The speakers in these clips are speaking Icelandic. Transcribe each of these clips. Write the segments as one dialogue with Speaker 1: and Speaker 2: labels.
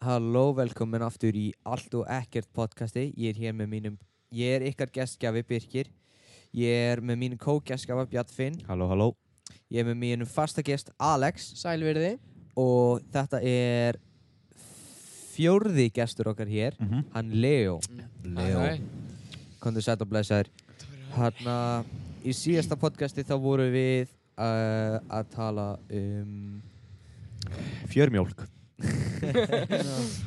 Speaker 1: Halló, velkomin aftur í Allt og Ekkert podcasti. Ég er hér með mínum, ég er ykkar gestgjafi Birkir. Ég er með mínum kógestgjafa Bjartfinn.
Speaker 2: Halló, halló.
Speaker 1: Ég er með mínum fasta gest Alex.
Speaker 3: Sælverði
Speaker 1: Og þetta er fjórði gestur okkar hér,
Speaker 2: Mhm.
Speaker 1: hann Leo. Kondur sætt og blessaður. Hanna, í síðasta podcasti þá vorum við uh, að tala um...
Speaker 2: Fjörmjólk.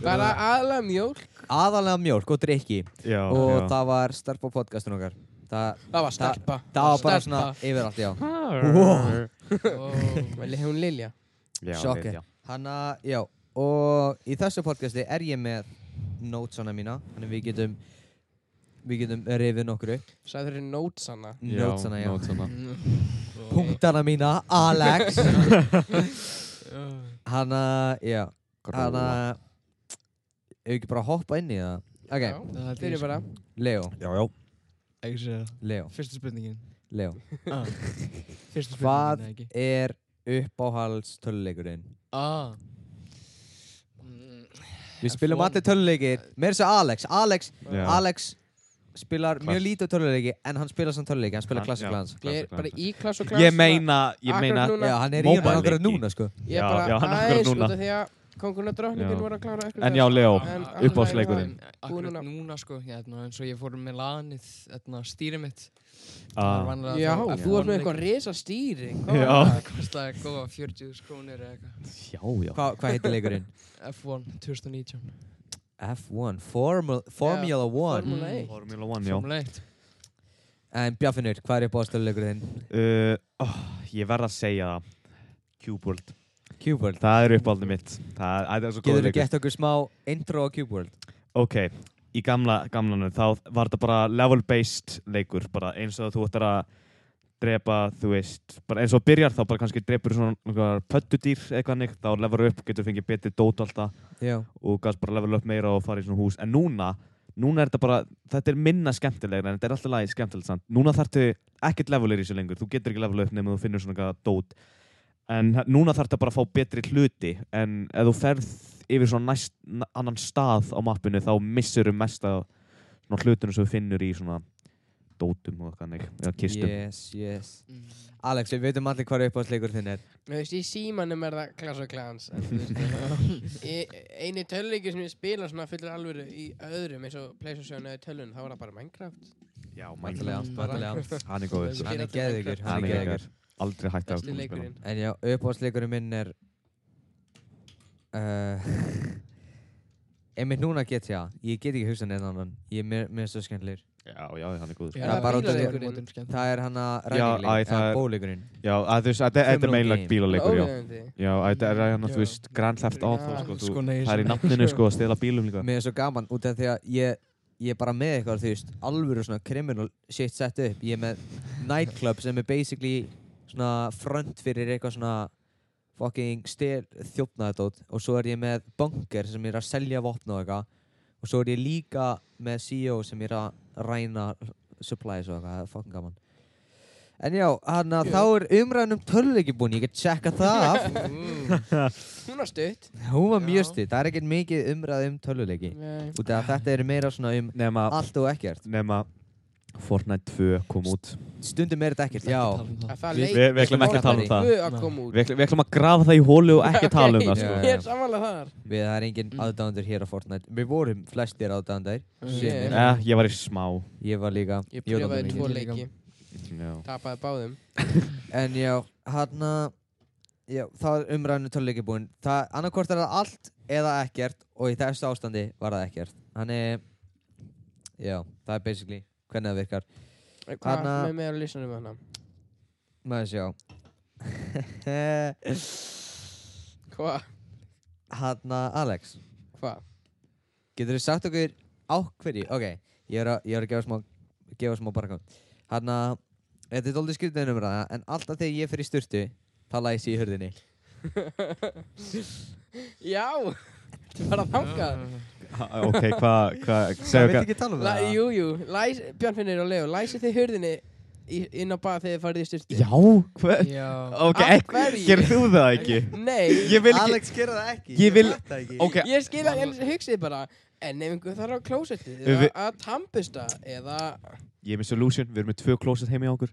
Speaker 3: Bara aðla mjólk
Speaker 1: Aðalega mjólk og drikki
Speaker 2: Já,
Speaker 1: og
Speaker 2: já.
Speaker 1: það var starpa podcastun okkar það,
Speaker 3: Það var starpa
Speaker 1: það var bara svona
Speaker 3: Stelpa.
Speaker 1: yfirallt, já
Speaker 2: Wow.
Speaker 3: Ó, Hún Lilja
Speaker 2: Já,
Speaker 1: Sjokkið.
Speaker 2: við- já.
Speaker 1: Hanna, já, og í þessu podcasti er ég með notesana mína þannig við getum við getum rifið nokkru
Speaker 3: Sæður eru nóts hana
Speaker 1: notesana, já,
Speaker 2: Nótsana.
Speaker 4: Mm.
Speaker 1: punktana mína, Alex Hanna, já, hanna ef við ekki bara hoppa inn í það ok,
Speaker 4: Það held ég
Speaker 3: Þeir eru
Speaker 4: sko.
Speaker 3: bara
Speaker 1: Leo,
Speaker 2: Já, já.
Speaker 4: Ekki segja það.
Speaker 1: Leo,
Speaker 4: Fyrsta spurningin.
Speaker 1: Leo
Speaker 4: Fyrsta spurningin,
Speaker 1: Hvað-
Speaker 4: eða ekki?
Speaker 1: er uppáhalds töluleikurinn
Speaker 4: Ah. Mm.
Speaker 1: Við spilum
Speaker 4: F1.
Speaker 1: allir töluleikir, með þessu Alex Alex,
Speaker 2: Já.
Speaker 1: Alex spilar
Speaker 2: Klass.
Speaker 1: mjög lítið töluleiki en hann spilar samt töluleiki, hann spilar
Speaker 2: Hann-
Speaker 1: klassik
Speaker 2: já.
Speaker 1: lands
Speaker 3: Ég er
Speaker 2: Klassik,
Speaker 3: bara
Speaker 2: klassik.
Speaker 3: í klass og klass
Speaker 2: Ég meina, ég
Speaker 3: Akkurat
Speaker 2: meina,
Speaker 3: núna.
Speaker 1: Já, hann er í hann
Speaker 2: Mobile
Speaker 1: okkur
Speaker 2: leiki.
Speaker 1: núna sko
Speaker 3: Ég
Speaker 2: Já,
Speaker 3: er
Speaker 2: já,
Speaker 3: bara
Speaker 2: hann akkurat
Speaker 3: aðeins
Speaker 2: núna.
Speaker 3: út af því að Kongurinn
Speaker 2: Já.
Speaker 3: og drottningin voru að klára
Speaker 2: en já, Leo,
Speaker 3: En-
Speaker 2: uppáhaldsleikurinn.
Speaker 3: Búin
Speaker 4: Akkurat
Speaker 3: að-
Speaker 4: núna sko, hérna, eins og ég fór með lanið, hérna, stýrið mitt. Það var
Speaker 2: Ah,
Speaker 4: vanlega
Speaker 3: Já,
Speaker 4: þá-
Speaker 3: þú varst með
Speaker 4: F1
Speaker 3: eitthvað resa stýring
Speaker 2: Já.
Speaker 4: Það kostaði góða 40 krónir eða eitthvað.
Speaker 2: Já, já.
Speaker 1: Hva, Hvað heitir leikurinn?
Speaker 4: F1 2019.
Speaker 1: F1, Formula, Formula 1
Speaker 3: Formula 1
Speaker 2: Formula 1, já.
Speaker 4: Formule 1.
Speaker 1: En Bjaffinur, hvað er uppáhalds töluleikurinn þinn?
Speaker 2: Uh, oh, ég verð að segja það. Cube World.
Speaker 1: Cube World
Speaker 2: Það er uppáhaldið mitt. Það, æ, það er svo góð
Speaker 1: Getur þú gett okkur smá intro á Cube World?
Speaker 2: Ok, í gamla, gamlanu, þá var þetta bara level-based leikur, bara eins og þú ættir að drepa, þú veist, bara eins og byrjar þá bara kannski drepur svona einhverjar pöttudýr eitthvað neitt, þá levelar upp, getur fengið betri dót og allt það.
Speaker 1: Já
Speaker 2: og gafst bara level upp meira og fara í svona hús en núna, núna er þetta bara þetta er minna skemmtilegra en þetta er alltaf lagi skemmtilegt samt. núna þarftu ekkert levelir í þessu lengur þú getur ekki level upp nema þú finnur svona eitthvað dót en h- núna þarftu bara að fá betri hluti en ef þú ferð yfir svona næst, na- annan stað á mappinu þá missur þú mest að svona hlutunum sem þú finnur í svona dótum og eitthvað neik, eða kistum
Speaker 1: Yes, yes
Speaker 4: Mm.
Speaker 1: Alex, við veitum allir hvað er uppáhalds leikurinn þinn er
Speaker 3: Þú veist, í símanum er það Clash of Clans en þú veist, í- Einu töluleiki sem ég spila svona fullur alvöru í öðrum eins og Playstation eða tölun þá var það bara Minecraft
Speaker 2: já,
Speaker 1: Mætilega,
Speaker 4: Mm.
Speaker 1: mætilega
Speaker 2: hann er góður
Speaker 4: Ég
Speaker 1: Hann
Speaker 4: er
Speaker 1: er
Speaker 4: alltaf
Speaker 1: geðvigur,
Speaker 4: Minecraft.
Speaker 1: hann er geðvigur
Speaker 2: aldrei hægt að
Speaker 4: Besti leikurinn.
Speaker 1: En já, uppáhaldsleikurinn minn er uh, Einmitt núna get ég að Ég get ekki hugsað neina annan Ég er mér mér finnst það skemmtilegur
Speaker 2: já, já, hann er góður
Speaker 1: Já, bara út af því-
Speaker 3: bílaleikurinn?
Speaker 1: Það er hann að
Speaker 2: Já, æ,
Speaker 1: ræninglík,
Speaker 2: það
Speaker 1: eða
Speaker 2: er-
Speaker 1: bóleikurinn
Speaker 2: Já, að þú veist, þetta þetta er
Speaker 1: Criminal
Speaker 2: meilagt
Speaker 1: game.
Speaker 2: bílaleikur, já.
Speaker 3: Óviðeigandi.
Speaker 2: Já, þetta er hérna, þú
Speaker 4: Já.
Speaker 2: veist, Grand Theft Auto,
Speaker 3: Já,
Speaker 2: sko, þú,
Speaker 4: sko, nei,
Speaker 2: það er í
Speaker 4: svona.
Speaker 2: nafninu, sko, að stela bílum líka.
Speaker 1: Mér er svo gaman út af því að ég, ég er bara með eitthvað, þú veist, alvöru svona criminal shit sett upp. Ég er með nightclub sem er basically svona front fyrir eitthvað svona fucking styr þjófnaðadót og svo er ég með bunker sem er að selja vopna og eitthvað og svo er ég líka með CEO sem er að ræna supplies og eitthvað, það er fucking gaman. En já, hann að þá er umræðan um töluleiki búin, ég get tjekka það af.
Speaker 3: Hún var stutt
Speaker 1: Hún var
Speaker 4: Já.
Speaker 1: mjög stuð, það er ekkert mikið umræð um töluleiki.
Speaker 3: Nei.
Speaker 1: Út af að þetta eru meira svona um
Speaker 2: Nefna,
Speaker 1: allt og ekkert
Speaker 2: nefna, Fortnite 2 kom út.
Speaker 1: stundum er þetta ekkert
Speaker 4: Ekki
Speaker 1: já
Speaker 4: tala um það.
Speaker 3: Að það
Speaker 1: Við-
Speaker 3: leit-
Speaker 2: við- við ætlum
Speaker 1: ekki að tala um
Speaker 2: það.
Speaker 3: Tvö að koma út
Speaker 2: Við ætlum- við ætlum að grafa það í hólu og ekki tala um það,
Speaker 1: Já,
Speaker 2: sko.
Speaker 1: já.
Speaker 3: Ég er samanlega þar
Speaker 1: við það er engin
Speaker 4: Mm.
Speaker 1: aðdándur hér á Fortnite við vorum flestir aðdándur
Speaker 3: Ég-
Speaker 1: Sumir.
Speaker 2: Eh, ég var í smá.
Speaker 1: ég var líka
Speaker 3: Ég
Speaker 1: var dálítið
Speaker 3: pröfaði
Speaker 1: mikið.
Speaker 3: tvo
Speaker 4: mikið.
Speaker 3: leiki
Speaker 2: Já.
Speaker 3: Tapaði báðum
Speaker 1: en já hann já það er umræðinu töluleiki búinn það annarkvort er það allt eða ekkert og í þessu ástandi var það ekkert þannig já það er basically hvernig það virkar
Speaker 3: Hvað
Speaker 1: Þarna-
Speaker 3: með með að lýsa um hana?
Speaker 1: maður sjá
Speaker 3: Hvað?
Speaker 1: hann Alex
Speaker 3: Hvað?
Speaker 1: Getur þið sagt okkur á hverju? Ok, ég er að, ég er að gefa smá, gefa smá barka. Hanna, þetta er doldið skriftin umræða, en alltaf þegar ég fer í sturtu, þá læs ég í hurðinni.
Speaker 3: Já Þetta var að þangað
Speaker 2: Ah, Ok, hvað, hvað,
Speaker 1: Það
Speaker 2: segja
Speaker 1: veit
Speaker 2: okkar.
Speaker 1: ekki tala um
Speaker 3: Læ-
Speaker 1: það.
Speaker 3: Jú, jú, Læs, Björn Finnir og Leo, læsið þið hurðinni í- inn á bað þegar þið farið í styrti
Speaker 2: Já, hvað?
Speaker 4: Já,
Speaker 2: Ok,
Speaker 3: Af hverju?
Speaker 2: ger þú það ekki?
Speaker 3: Nei,
Speaker 2: Ég vil ekki
Speaker 1: Alex gerði það ekki
Speaker 2: Ég vil-
Speaker 1: fatta ekki.
Speaker 2: Ok,
Speaker 3: ég skil að en hugsið bara En ef einhver þarf á klósettið
Speaker 2: Við-
Speaker 3: eða að tampista eða
Speaker 2: ég er með solution, við erum með tvö klósett heim í okkur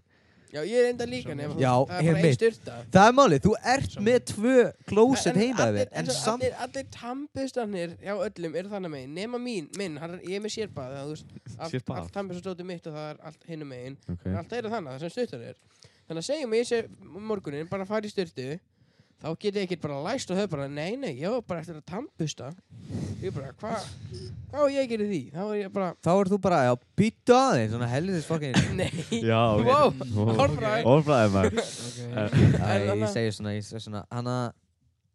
Speaker 3: Já, ég er enda líka nefn
Speaker 1: Já,
Speaker 3: Það er bara ein
Speaker 1: einmitt.
Speaker 3: styrta
Speaker 1: Það er málið, þú ert
Speaker 3: Sammála.
Speaker 1: með tvö klósett heima yfir En samt
Speaker 3: Allir, allir tampistanir hjá öllum eru þannig megin Nema mín, minn, hann, er- ég er með sérbað Það, þú veist, allt,
Speaker 2: Sérbað?
Speaker 3: allt tampistadótið mitt og það er allt hinu megin
Speaker 2: okay.
Speaker 3: Allt eru þannig, það sem stuttar er Þannig að segjum ég sér morgunin, bara fara í styrtu Þá get ég ekkert bara læst og höf bara Nei, nei, ég var bara eftir að tampusta Ég bara, hvað Hvað á ég að gera í því? Þá er ég bara,
Speaker 1: Þá ert þú bara, já, býttu aðeins Svona helðis fokkin
Speaker 3: nei
Speaker 2: Já, ok
Speaker 3: Wow,
Speaker 2: Ó,
Speaker 3: alright.
Speaker 2: Orfraði maður
Speaker 4: ok.
Speaker 1: Æ, ég
Speaker 3: annað-
Speaker 1: segi svona, ég segi svona Hanna,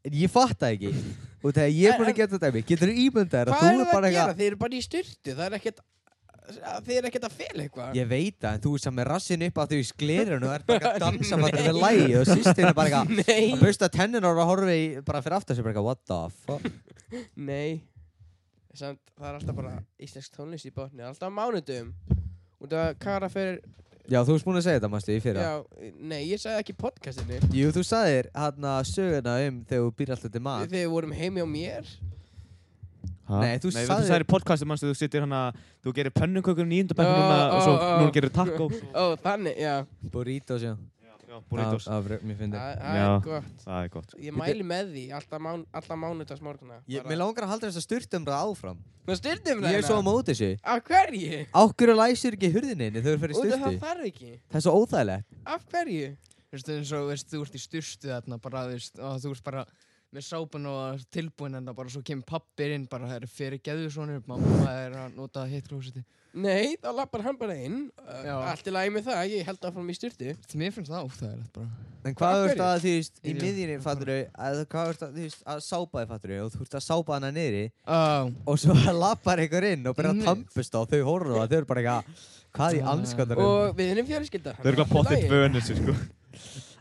Speaker 1: ég fatta ekki Og þegar ég er búin að geta þetta dæmi Getur þú ímyndað þér að
Speaker 3: Hvað
Speaker 1: þú
Speaker 3: eru
Speaker 1: er
Speaker 3: það
Speaker 1: bara
Speaker 3: að gera?
Speaker 1: eitthvað
Speaker 3: Þeir eru bara í styrtu Það er ekkert Þeir eru ekkert að fela eitthvað
Speaker 1: Ég veit það, en þú er saman með rassin upp að þú í sklerun og ert bara að dansa bara við lægi og sýstin er bara eitthvað
Speaker 3: Nei,
Speaker 1: að busta tennin og horfi í- bara fyrir aftur sem bara eitthvað what the fuck
Speaker 3: Nei Samt, það er alltaf bara íslensk tónlist í botni Alltaf á mánudum Út af Kara fyrir
Speaker 1: Já, þú erst búin að segja þetta, mannstu, í fyrra
Speaker 3: já, Nei, ég sagði ekki í podcastinu
Speaker 1: Jú, þú sagðir hann að söguna um þegar þú býr alltaf til mat
Speaker 3: Þegar við vorum heimi á mér
Speaker 2: Ha?
Speaker 1: Nei, þú
Speaker 2: Nei,
Speaker 1: sagðir-
Speaker 2: þú sagðir í podcastum manstu, þú sittir hana Þú gerir pönnukökur nýjundu bekk
Speaker 3: Ó,
Speaker 2: núna
Speaker 3: ó,
Speaker 2: og svo
Speaker 3: ó.
Speaker 2: núna gerir taco
Speaker 3: Ó, þannig, já
Speaker 1: Burritos, já
Speaker 2: Já, burritos
Speaker 1: Af- af- Mér finnst það
Speaker 3: Það það
Speaker 2: Já.
Speaker 3: er gott
Speaker 2: Það er gott
Speaker 3: Ég mæli með því alltaf, mán, alltaf mánudags morguna
Speaker 1: Ég- Mér langar að halda þess að styrtum það áfram
Speaker 3: Nú styrtum
Speaker 1: Ég er svo á móti þessu
Speaker 3: Af hverju?
Speaker 1: Af hverju læsir ekki hurðinni þegar þú fyrir
Speaker 3: Út af
Speaker 1: styrtu?
Speaker 3: það þarf ekki
Speaker 1: Það er svo óþægilegt
Speaker 3: Af hverju?
Speaker 4: Þú veist, eins og veist, þú ert í styrstu þarna bara, þú veist, og þú veist bara með sápan og tilbúin en það bara svo kemur pappir inn bara, það er fyrir geðu svonur, mamma er að nota hitt klósiti.
Speaker 3: Nei, þá lappar hann bara inn uh,
Speaker 4: Já.
Speaker 3: Allt í lagi með það, ég held áfram í styrtu
Speaker 4: Mér finnst það óþægilegt bara.
Speaker 1: En hvað
Speaker 3: Af
Speaker 1: þú ert
Speaker 3: hverju?
Speaker 1: að þú veist í
Speaker 4: Ég-
Speaker 1: miðjunni fattur að hvað þú ert að þú veist að sápa þið fattur og þú ert að sápa hana niðri
Speaker 4: Uh,
Speaker 1: og svo lappar einhver inn og byrjar að
Speaker 4: Nei.
Speaker 1: tampast á þau horfum og þau eru bara eitthvað hvað í
Speaker 4: Ah.
Speaker 1: anskotanum
Speaker 3: Og við erum fjölskylda
Speaker 2: Það er
Speaker 3: þannig
Speaker 2: glæð
Speaker 3: allt í
Speaker 2: pottitt
Speaker 3: lagi.
Speaker 2: vönir sér sko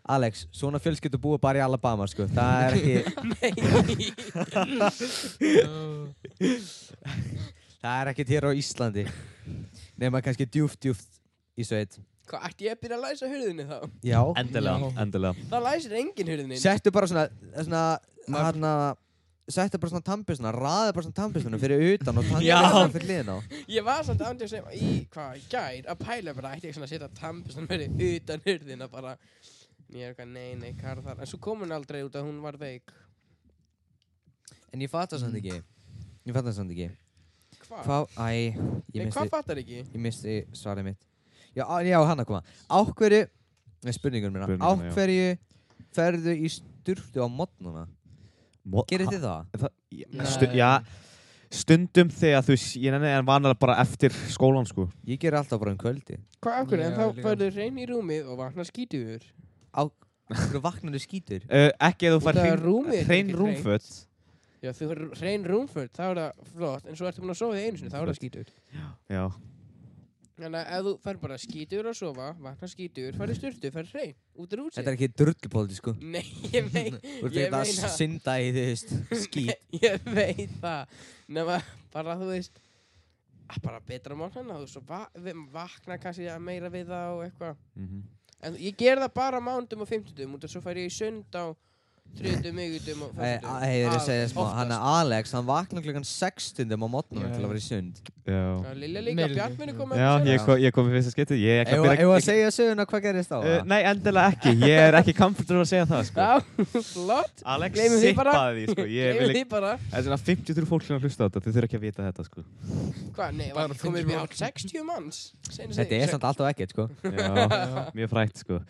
Speaker 1: Alex, svona fjölskyldu búa bara í Alabama sko það er ekki,
Speaker 3: Nei
Speaker 1: það er ekki hér á Íslandi nema kannski djúft djúft í sveit
Speaker 3: Hvað, ætti ég að byrja að læsa hurðinni þá?
Speaker 1: Já,
Speaker 2: Endilega,
Speaker 4: Já.
Speaker 2: endilega
Speaker 3: Það læsir engin hurðinni
Speaker 1: settu bara svona, svona
Speaker 4: Maður-
Speaker 1: hana, settu bara svona tampistuna raðu bara svona tampistunum fyrir utan og
Speaker 2: Já.
Speaker 1: tampistuna fyrir hliðin á
Speaker 3: Ég var samt ándið sem í hvað, í gær, að pæla bara ætti ég svona að setja tampustan verið utan hurðina bara Ég er eitthvað, nei, nei, hvað er það? En svo kom hún aldrei út að hún var veik
Speaker 1: en ég fatt það samt ekki Mm. ég fatt það samt ekki
Speaker 3: Hvað?
Speaker 1: hvað, æ, ég
Speaker 3: Nei,
Speaker 1: misti
Speaker 3: hvað fattar ekki?
Speaker 1: Ég misti svarið mitt Já, á- já hann að koma Á hverju Nei, spurningur minna
Speaker 2: Spurninguna,
Speaker 1: Á
Speaker 2: já.
Speaker 1: hverju ferðu í sturtu á modnuna?
Speaker 2: Mo-
Speaker 1: Gerið þið það?
Speaker 2: En það,
Speaker 4: Nei.
Speaker 2: stu, já, stundum þegar þú veist, ég nenni en vanalega bara eftir skólan sko.
Speaker 1: Ég ger alltaf bara um kvöldi
Speaker 3: Hvað, af hverju? En
Speaker 4: Já,
Speaker 3: þá
Speaker 4: líka.
Speaker 3: færðu hrein í rúmið og vakna skítuður
Speaker 1: Á hverju vaknandi skítur?
Speaker 2: uh, ekki ef þú
Speaker 3: Út
Speaker 2: fær
Speaker 3: af
Speaker 2: hrein-
Speaker 3: rúmið er
Speaker 2: hrein
Speaker 3: ekki
Speaker 2: rúmföt
Speaker 3: Já, þú er hrein rúmförd, þá er það flott En svo ertu búin að sofa í einu sinni, þá er það skítuður
Speaker 2: já,
Speaker 3: Þannig að ef þú fær bara skítuður að sofa, vakna skítuður, færðu styrtu, færðu hrein, út úr
Speaker 1: Þetta
Speaker 3: húsi
Speaker 1: er ekki drullupóli sko
Speaker 3: Nei, ég mein,
Speaker 1: Þú ert
Speaker 3: Ég
Speaker 1: ekki að
Speaker 3: meina-
Speaker 1: synda í því veist skít
Speaker 3: ég veit það nema bara þú veist að bara betra málhana þú svo va við vakna kannski að meira við það og eitthvað
Speaker 2: mm
Speaker 3: en ég ger það bara á mánudum og fimmtudum og svo fær ég í sund á þriðdum, miðgudum og
Speaker 1: Æ,
Speaker 3: föstudum
Speaker 1: æ, ég er að segja smá
Speaker 3: Oftast.
Speaker 1: Hann að Alex, hann vaknar klukkan 6 stundum á modnuna
Speaker 4: Já.
Speaker 1: til að vera í sund
Speaker 2: já,
Speaker 3: Já, Lilja líka,
Speaker 4: Meira
Speaker 3: Bjarn
Speaker 4: líka.
Speaker 3: muni koma
Speaker 2: já
Speaker 3: upp
Speaker 2: ég,
Speaker 3: sjálf.
Speaker 2: kom, ég kom í fyrsta skipti ég er ekki
Speaker 1: Ef að
Speaker 2: ekki-
Speaker 1: segja söguna hvað gerist á
Speaker 2: Eh,
Speaker 1: það?
Speaker 2: nei, endilega ekki, ég er ekki comfortable að segja það sko.
Speaker 3: já, flott
Speaker 2: Alex
Speaker 3: Gleymum því bara.
Speaker 2: sippaði því sko. ég
Speaker 3: Gleymum
Speaker 2: vil ekki,
Speaker 3: því bara
Speaker 2: það er svona 53 fólk sem hlusta á þetta, þau þurfa ekki að vita þetta sko.
Speaker 3: Hvað, nei,
Speaker 4: Bara
Speaker 3: var komið upp í
Speaker 4: fimmtíu
Speaker 3: átt 60 manns Seinast
Speaker 1: Þetta er samt alltaf ekkert sko
Speaker 2: já, mjög frægt sko.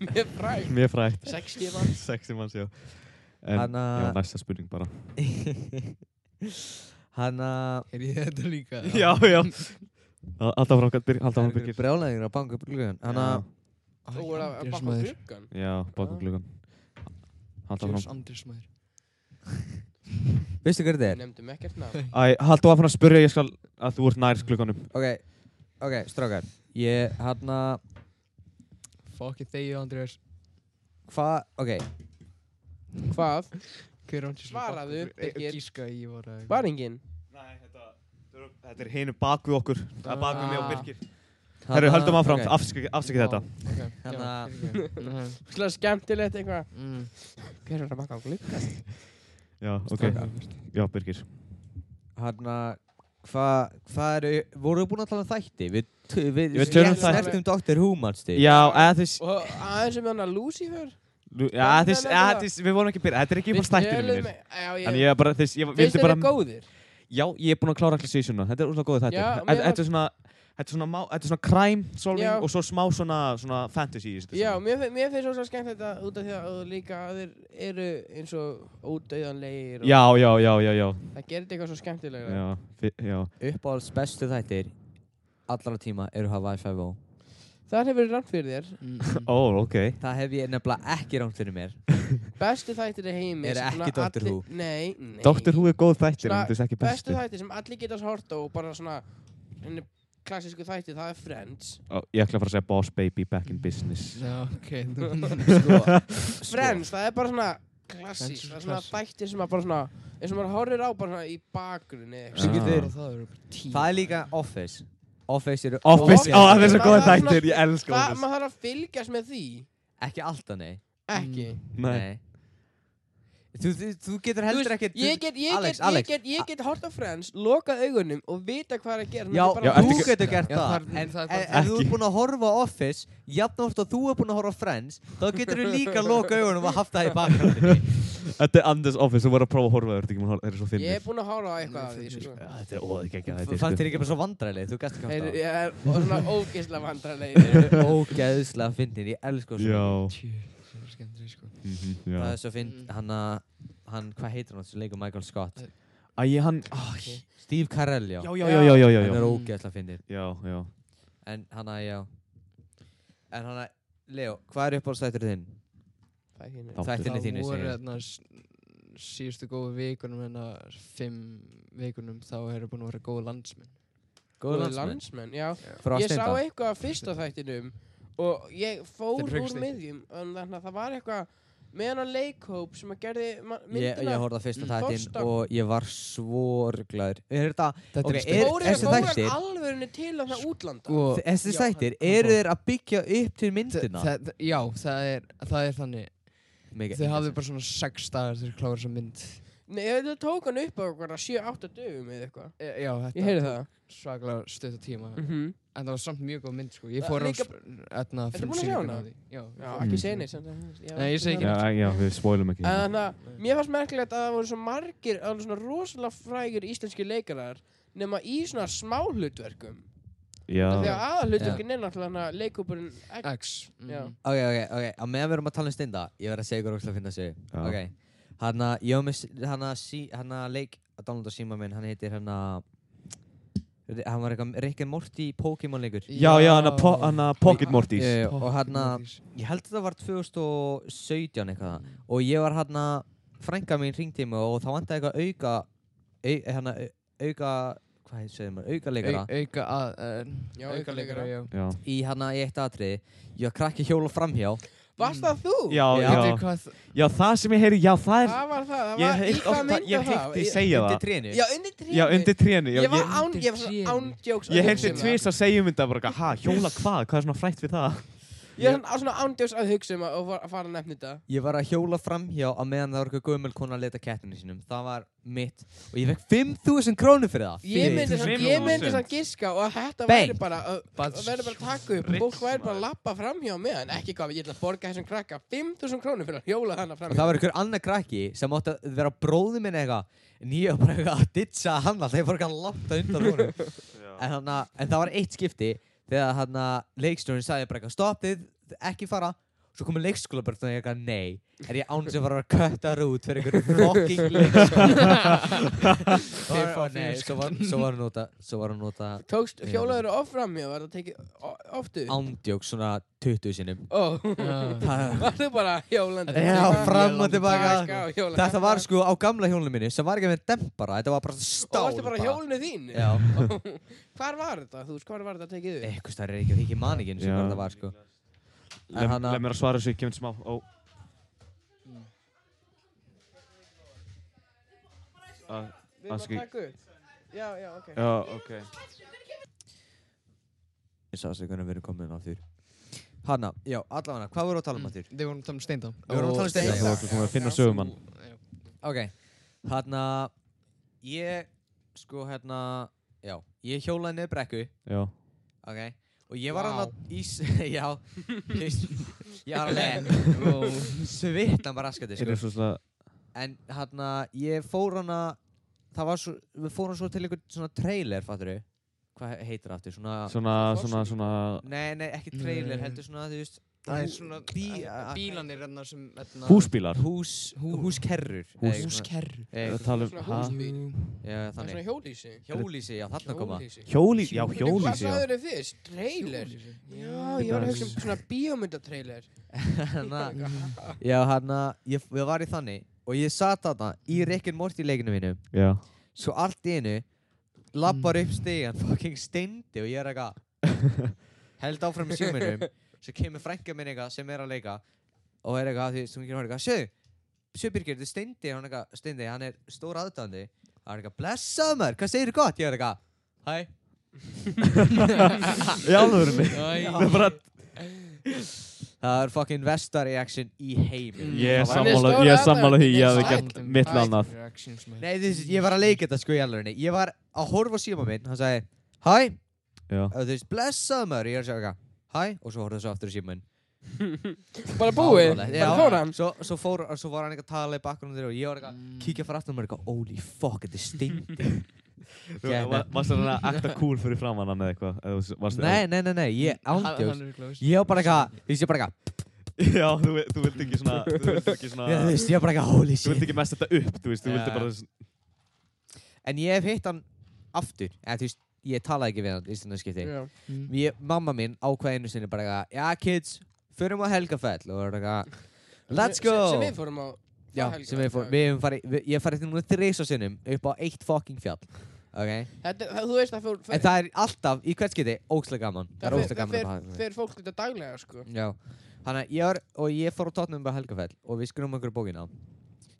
Speaker 3: Mjög fræg
Speaker 2: mjög frægt
Speaker 3: 60 manns
Speaker 2: 60 manns, já en,
Speaker 1: Hanna-
Speaker 2: já, næsta spurning bara
Speaker 1: Hann að
Speaker 4: er ég þetta líka?
Speaker 2: já, já alltaf frákvæmt, alltaf frákvæmt
Speaker 1: Brjálæðingur að banka upp gluggan Hann að
Speaker 3: Þú voru að
Speaker 4: Andrés
Speaker 3: bakka
Speaker 4: maður.
Speaker 3: gluggan
Speaker 2: Já, bakum
Speaker 3: Já.
Speaker 2: gluggan Haldu
Speaker 4: Andrés
Speaker 2: áfram
Speaker 4: Andrés maður.
Speaker 1: Veistu hver þetta
Speaker 3: Við
Speaker 1: er?
Speaker 3: nefndum ekkert nafn
Speaker 2: Æ, haldu áfram að spyrja ég skal að þú ert nær glugganum
Speaker 1: Ok, ok, strákar Ég, hérna, hann að
Speaker 4: Fuck it, þegið Andrés.
Speaker 1: Hvað, ok
Speaker 3: Hvað?
Speaker 4: Hver er Andrés
Speaker 3: Svaraðu, Birgir.
Speaker 4: Birgir. Gíska að ég eh, var að...
Speaker 3: Var enginn?
Speaker 2: Nei, þetta, þetta er hinu bak við okkur Það er bak við mig og
Speaker 3: Ah.
Speaker 2: Birgir
Speaker 1: hérna,
Speaker 2: Herru, höldum áfram, okay. afsakið þetta
Speaker 4: hérna-
Speaker 1: Þannig að-
Speaker 4: Þannig að
Speaker 3: Svona skemmtilegt eitthvað.
Speaker 4: Mm.
Speaker 3: Hver er að makka á glugga?
Speaker 2: Já, ok, já, Birgir
Speaker 1: Hanna, hvað hérna, hva eru, voru við búin að tala um þætti? Við, t- við,
Speaker 2: Við tölum um
Speaker 1: snertum
Speaker 2: þætti.
Speaker 1: snertum Dr. Who mannstu
Speaker 2: Já, eða þess
Speaker 3: Og aðeins um hann að Lucifer.
Speaker 2: Já, þess, eða þess, við vorum ekki byrjað Þetta er ekki bara stættinu
Speaker 3: tölum-
Speaker 2: mínir
Speaker 3: Já,
Speaker 2: En
Speaker 3: ég...
Speaker 2: ég er bara, þess, ég
Speaker 3: Finnst
Speaker 2: vildi
Speaker 3: þér
Speaker 2: bara
Speaker 3: það góðir?
Speaker 2: Já, ég er búinn að klára allir seasona Þetta er úrslega góðið þetta
Speaker 3: Já, mér var-
Speaker 2: Þetta er svona Þetta er svona, má- þetta er svona crime solving
Speaker 3: Já.
Speaker 2: og svo smá svona, svona fantasy í þessu.
Speaker 3: Já, mér, fin- mér finnst svo skemmt þetta út af því að líka að þeir eru eins og ódauðanlegir og
Speaker 2: já, já, já, já, já,
Speaker 3: það gerir þetta eitthvað svo skemmtilega.
Speaker 2: já, fi- já.
Speaker 1: Uppáhalds bestu þættir allra tíma eru Hawaii 5
Speaker 3: Það hefur verið rangt fyrir þér.
Speaker 4: Mm.
Speaker 2: Ó, ok.
Speaker 1: Það hef ég nefnilega ekki rámt fyrir mér
Speaker 3: Bestu þættir í heimi
Speaker 1: Eru
Speaker 3: sem
Speaker 1: ekki
Speaker 3: svona
Speaker 1: Dr.
Speaker 3: allir-
Speaker 1: Who.
Speaker 3: Nei, nei.
Speaker 2: Doctor Who er góð þættir,
Speaker 3: Svona,
Speaker 2: en þetta er ekki bestu.
Speaker 3: Bestu þættir sem allir geta hort á og bara svona hinni klassísku þættir, það er Friends.
Speaker 2: Ó, ég ætla að fara að segja Boss Baby Back in Business.
Speaker 4: Já, ok þú-
Speaker 1: Sko,
Speaker 3: Friends, það er bara svona klassík,
Speaker 4: Friends er
Speaker 3: það er svona
Speaker 4: klassík.
Speaker 3: þættir sem að bara svona eins og maður horfir á bara svona í bakgrunni eða eitthvað.
Speaker 1: Sem getur-
Speaker 4: Sko, Það eru bara tíu.
Speaker 1: Það er líka Office Office eru
Speaker 2: Office,
Speaker 3: Office,
Speaker 2: ó, það er svo
Speaker 3: það-
Speaker 2: góð
Speaker 3: það er svona-
Speaker 2: þættir, ég elska
Speaker 3: Það,
Speaker 2: Office.
Speaker 3: maður þarf að fylgjast með því,
Speaker 1: Ekki alltaf nei
Speaker 4: Mm.
Speaker 3: ekki.
Speaker 2: Nei,
Speaker 1: Þú, þú, þú getur
Speaker 3: Þú
Speaker 1: heldur
Speaker 3: veist,
Speaker 1: ekkert um
Speaker 3: Ég get, ég
Speaker 1: Alex,
Speaker 3: get,
Speaker 1: Alex.
Speaker 3: ég get, ég get hort á Friends, lokað augunum og vita hvað er að gera.
Speaker 1: Já,
Speaker 3: Þetta er
Speaker 2: Já,
Speaker 3: bara-
Speaker 1: þú
Speaker 2: ertu-
Speaker 1: getur gert
Speaker 4: Já,
Speaker 1: það,
Speaker 4: það er-
Speaker 1: En,
Speaker 4: það
Speaker 1: en,
Speaker 4: er bara-
Speaker 1: en þú
Speaker 2: Ekki.
Speaker 1: ert búinn að horfa á Office Jafnátt og þú ert búinn að horfa á Friends Þá getur þú líka að loka augunum og haft það í bakgrándinni
Speaker 2: þetta er Anders Office, þú voru að prófa að horfa á það, þetta er ekki maður að horfa, þeir eru svo
Speaker 3: Ég
Speaker 2: finnir.
Speaker 3: er búinn að horfa á eitthvað af því, sko.
Speaker 2: Já, Þetta er óðgengja
Speaker 1: Þú
Speaker 2: þættir.
Speaker 1: fannst
Speaker 2: sko.
Speaker 1: þér ekki bara svo vandræðileg, þú gæst ekki
Speaker 3: Þeir
Speaker 1: haft
Speaker 3: ég er og svona ógeðslega
Speaker 1: það
Speaker 3: vandrarlegir.
Speaker 1: Þeir eru ógeðslega fyndin, ég elska svo
Speaker 2: Já,
Speaker 4: Tjú, það er skemmtileg sko.
Speaker 2: mhm, já.
Speaker 1: Það er svo fynd, hann að hann, hvað heitir hann sem leikur Michael Scott?
Speaker 2: Æ, ég- hann, á, ég-
Speaker 1: Steve Carell, já Mm.
Speaker 2: já, já, já, já, já, já,
Speaker 1: Hann
Speaker 2: já.
Speaker 1: er ógeðslega fyndin
Speaker 2: Já, já.
Speaker 1: En hann að, já En hann að, Leo, hvað er uppáhaldstættur þinn?
Speaker 3: Það
Speaker 2: Þáttur.
Speaker 1: Þættinni þínu,
Speaker 4: Það voru
Speaker 1: segir
Speaker 4: þarna s- síðustu góðu vikunum en fimm vikunum þá eru búin að vera góðu landsmenn.
Speaker 1: Góður landsmenn
Speaker 3: landsmenn, já.
Speaker 1: Frá
Speaker 3: Ég sá
Speaker 1: Steinda
Speaker 3: eitthvað af fyrsta þættinum og ég fór
Speaker 4: Þeir
Speaker 3: úr
Speaker 4: hugstu.
Speaker 3: miðjum en þannig að það var eitthvað með hann leikhóp sem að gerði ma-
Speaker 1: Ég,
Speaker 3: myndina
Speaker 1: ég horfði á fyrsta
Speaker 4: Mm.
Speaker 1: þættin
Speaker 3: Þorsteinn.
Speaker 1: og ég var svörglaður Er þetta,
Speaker 4: Þetta
Speaker 1: ok,
Speaker 4: er
Speaker 1: er
Speaker 3: Fóru
Speaker 1: þessi
Speaker 3: fóru hann
Speaker 1: þættir
Speaker 3: alvörinni til að það útlanda
Speaker 4: Sko,
Speaker 1: Þessi
Speaker 4: Já,
Speaker 1: þættir,
Speaker 4: hann-
Speaker 1: eru
Speaker 4: hann-
Speaker 1: þeir að byggja upp til myndina?
Speaker 4: Þa- þa- Já, það er, það er þannig.
Speaker 1: Mikið-
Speaker 4: Þau hafðu bara svona sex dagar til að klára þessa mynd.
Speaker 3: Nei, það tók hann upp á okkur að 7-8 dögum eða eitthvað
Speaker 4: E, já, þetta
Speaker 3: Ég heyri það
Speaker 4: svaklega stöðt á tíma.
Speaker 3: mm -hmm.
Speaker 4: En það var samt mjög góð mynd, sko.
Speaker 3: Það-
Speaker 4: Ég fór á
Speaker 3: líka- Ertu búin að
Speaker 4: etna
Speaker 3: sjá
Speaker 4: frumsýninguna
Speaker 3: hana?
Speaker 4: á því. Já, ég
Speaker 3: Já,
Speaker 4: fór.
Speaker 3: ekki
Speaker 2: Mhm.
Speaker 3: segja neitt samt að- já,
Speaker 4: Nei, ég segi ekki
Speaker 3: það-
Speaker 2: Já,
Speaker 4: neitt.
Speaker 2: já, við spoilum ekki.
Speaker 3: En þannig að mér fannst merkilegt að það voru svo margir alveg svona rosalega frægir íslenski leikarar nema í svona smá hlutverkum
Speaker 2: Já.
Speaker 3: þegar aðalhlutverkin er náttúrulega leikhópurinn ekki
Speaker 4: X. mhm.
Speaker 3: Já.
Speaker 1: Ok, ok, ok, á meðan við erum að tala um steinda Ég verð að segja ykkur ógst að finna sig
Speaker 2: Já.
Speaker 1: Ok, hann að, ég var með s- hann að sí, hann að leik að downloada síma minn, hann heitir hann að Hann var eitthvað Rick and Morty Pokémon leikur
Speaker 2: Já, já, hann að po hann að Pocket Mortys.
Speaker 1: Ég- Og hann að,
Speaker 4: Mortys.
Speaker 1: ég held að það var 2017 eitthvað Og ég var hann að, frænka mín ringdi mig og þá vantaði eitthvað auka au, Hann að auka, hvað heit, segir maður, auka leikara
Speaker 4: Au- Auka að...
Speaker 3: Já,
Speaker 4: Auka leikara,
Speaker 3: aukaleikara.
Speaker 4: já.
Speaker 2: Já,
Speaker 1: Í hann að, í eitt atriði Ég var krakki hjóla framhjá
Speaker 3: Varst það þú?
Speaker 2: já,
Speaker 1: Já.
Speaker 2: já.
Speaker 4: Veitir hvað það-
Speaker 2: Já, það sem ég heyri, já, það er...
Speaker 3: Það var það, það
Speaker 2: Ég
Speaker 3: var í
Speaker 2: heilt
Speaker 3: hvað
Speaker 2: ofta,
Speaker 3: mynd
Speaker 2: ég
Speaker 3: var það?
Speaker 2: heyrti segja
Speaker 1: Undir
Speaker 2: það.
Speaker 1: trénu
Speaker 3: Já, undir trénu.
Speaker 2: Já, undir trénu. Já,
Speaker 3: Ég var
Speaker 2: ég
Speaker 3: án, ég var
Speaker 4: Undir
Speaker 3: svona
Speaker 4: trénu.
Speaker 3: án jokes.
Speaker 2: ég
Speaker 3: að
Speaker 2: heyrti
Speaker 3: hugsa um
Speaker 2: tvís að segjum þetta bara, eitthvað, ha, hjóla hvað? Hvað er svona frætt við það?
Speaker 3: það. Ég var svona- svona án jokes að hugsa um að og var- að fara að nefna þetta.
Speaker 1: Ég var að hjóla framhjá á meðan það var eitthvað gömul kona að leta kettinu sínum. Það var mitt. Og ég fekk 5.000 krónur fyrir það.
Speaker 3: Ég myndi
Speaker 2: Fimm
Speaker 3: samt- ég myndi
Speaker 2: þúsund.
Speaker 3: samt giska og að þetta
Speaker 1: Bang.
Speaker 3: væri bara að
Speaker 4: Bad
Speaker 3: að væri bara að taka upp.
Speaker 2: Ritz,
Speaker 3: Fólk væri bara að lappa framhjá með hann. Ekki hvað, ég ætla að borga þessum krakka 5.000 krónur fyrir að hjóla þannig
Speaker 1: Og það
Speaker 3: framhjá.
Speaker 1: var einhver annar krakki sem átti að vera bróði minn eitthvað. En ég var bara eitthvað að ditsa hann alltaf. Ég fór eitthvað langt að undan honum. en, hana, en það var eitt skipti þegar hana, leikstjórinn sagði bara eitthvað stoppið, ekki fara. Svo komið leikskóla bara þannig eitthvað nei. Er ég án sem var að kötta út fyrir einhverju fucking leikskóla.
Speaker 4: Þeir fá
Speaker 1: Og- nei, svo var- svo var hún nota, svo var hún nota
Speaker 3: Tókst hjólaður of framhjá, var það tekið o- oft upp?
Speaker 1: ándjók svona 20 sinnum.
Speaker 3: Ó,
Speaker 4: Já.
Speaker 1: Það
Speaker 3: var þú bara hjólandi?
Speaker 1: Já, fram og tilbaka
Speaker 3: Taka og hjóla.
Speaker 1: Þetta var sko á gamla hjólinu mínu sem var ekki með dempara, þetta var bara
Speaker 3: Og
Speaker 1: stál
Speaker 3: varstu bara á hjólinu þín?
Speaker 1: Já, Eh,
Speaker 3: Hvar var þetta? Þú veist, hvar var þetta tekið upp?
Speaker 1: eitthvað stærri er ekki, ekki man ekki eins og
Speaker 2: Já.
Speaker 1: hvað þetta var sko En
Speaker 2: Lef,
Speaker 1: hana-
Speaker 2: lef mér að svara þessu, kemur smá. Ó. Ah,
Speaker 3: Við erum að
Speaker 2: Aski.
Speaker 3: taka upp. Já, já, ok.
Speaker 2: Já, ok.
Speaker 1: Ég sá sig hvernig við erum komin að þur Hanna, já, allavega, hvað voru að tala um að þur?
Speaker 4: Þið vorum að tala um steindam
Speaker 1: Við vorum að tala um Steindór.
Speaker 2: Þú varst svona að finna sögumann.
Speaker 1: Ok, þarna Ég, sko, hérna Já, ég hjólaði niður brekku
Speaker 2: Já.
Speaker 1: Ok, og ég var
Speaker 3: Vá.
Speaker 1: alveg í, s- Já, ég ég var alveg Svittan bara raskandi,
Speaker 2: Er
Speaker 1: sko
Speaker 2: það svona
Speaker 1: En hérna, ég fór hana Það var svo, við fórum svo til einhvern svona trailer, fattur við Hvað heitir það aftur, svona
Speaker 2: svona, svona, svona
Speaker 1: Nei, nei, ekki
Speaker 4: Nei.
Speaker 1: trailer, heldur svona, þú veist
Speaker 4: Það er
Speaker 1: hú-
Speaker 4: svona
Speaker 1: bí,
Speaker 4: bílanir hérna sem hérna-
Speaker 2: húsbílar?
Speaker 1: Hús, hú, húskerrur eða eitthvað svona-
Speaker 4: Húskerru
Speaker 1: eða eitthvað
Speaker 2: Talum,
Speaker 3: Svona
Speaker 2: ha?
Speaker 3: hús-
Speaker 1: svona- Já,
Speaker 3: Það er svona
Speaker 1: þannig
Speaker 3: hjólísi
Speaker 1: Hjólísi, já, þarna koma
Speaker 3: Hjólísi
Speaker 2: Hjóli, já,
Speaker 3: Bíddu, Hvað
Speaker 2: hjólísi, já.
Speaker 3: sagður þið fyrst? Trailer? Já, ég var að hugsa um svona bíómyndatrailer
Speaker 1: Hanna- Já, hann að, ég ég var í þannig Og ég sat þarna í Rick and Morty leikinu mínu
Speaker 2: Já.
Speaker 1: Svo allt í einu Lappar
Speaker 2: Mm.
Speaker 1: upp stegan, fucking steindi Og ég er eitthvað Held áfram í síminum Svo kemur frænka minn eitthvað sem er að leika Og er eitthvað, því sem ekki hann eitthvað Sjöðu, sjöðu Birgir, þetta er steindi Hann er eitthvað, steindi, hann er stór aðdæðandi Hann er eitthvað, blessaðu maður, hvað segirðu gott? Ég er eitthvað, hæ
Speaker 2: Í alvörunni. Það er bara,
Speaker 1: Það er fucking vestar reaction í heiminn
Speaker 2: Mm. ég er
Speaker 1: Það var-
Speaker 2: sammála,
Speaker 3: stór
Speaker 2: ég er sammála því
Speaker 3: aðdáandi.
Speaker 2: ég hefði
Speaker 3: Sæll.
Speaker 2: gert mitt lánað.
Speaker 1: Nei, þess, ég var að leika þetta sko í alveg Ég var að horfa á síma minn, hann sagði Hæ,
Speaker 2: Já.
Speaker 1: og þú veist, blessaðu maður Ég er að segja eitthvað, hæ Og svo horfði þessu aftur í síma minn
Speaker 3: Bara búið,
Speaker 1: Fáránlegt.
Speaker 3: bara
Speaker 1: Já.
Speaker 3: fór hann
Speaker 1: svo, svo, fór, svo var hann eitthvað að tala í bakgrunum þeirra Og ég var eitthvað, kíkja fyrir aftur og maður eitthvað Holy fuck, þetta er steindi Ég-
Speaker 2: eh, Varst það að ekta cool fyrir framann hann eða eitthvað? Eða þú- varstu-
Speaker 1: Nei, nei, nei, nei, ég ándjóðs Ég var bara eitthvað, þú veist, ég bara eitthvað
Speaker 2: Já, þú, þú vilt ekki svona, þú vilt ekki
Speaker 3: Ah.
Speaker 2: svona,
Speaker 1: Já, Þú veist, ég var bara eitthvað, holy
Speaker 2: þú vilt
Speaker 1: shit
Speaker 2: ekki mest þetta upp, þú veist, þú vilti
Speaker 1: Já.
Speaker 2: bara, þess-
Speaker 1: En ég hef hitt hann aftur En þú veist, ég talaði ekki við hann í stundum skipti
Speaker 3: Já.
Speaker 4: Mm.
Speaker 1: ég, mamma mín ákvað einu sinni bara eitthvað, já kids, förum á helgafell og það eitthvað, let's go
Speaker 3: Sem við fórum á sko.
Speaker 1: já,
Speaker 3: Helga.
Speaker 1: sem við fórum, við hefum farið við, ég hef farið til núna þrís á sinnum upp á eitt fucking fjall ok,
Speaker 3: Þetta, er- það- Þú veist að fór,
Speaker 1: en það er alltaf í hvert skiti ógslega gaman, það er
Speaker 3: fer-
Speaker 1: ógslega gaman
Speaker 3: fer-
Speaker 1: að
Speaker 3: fer fólk þetta daglega sko
Speaker 1: hafa já, þannig að ég var og ég fór á tótnum bara helgafell og við skrum okkur bókina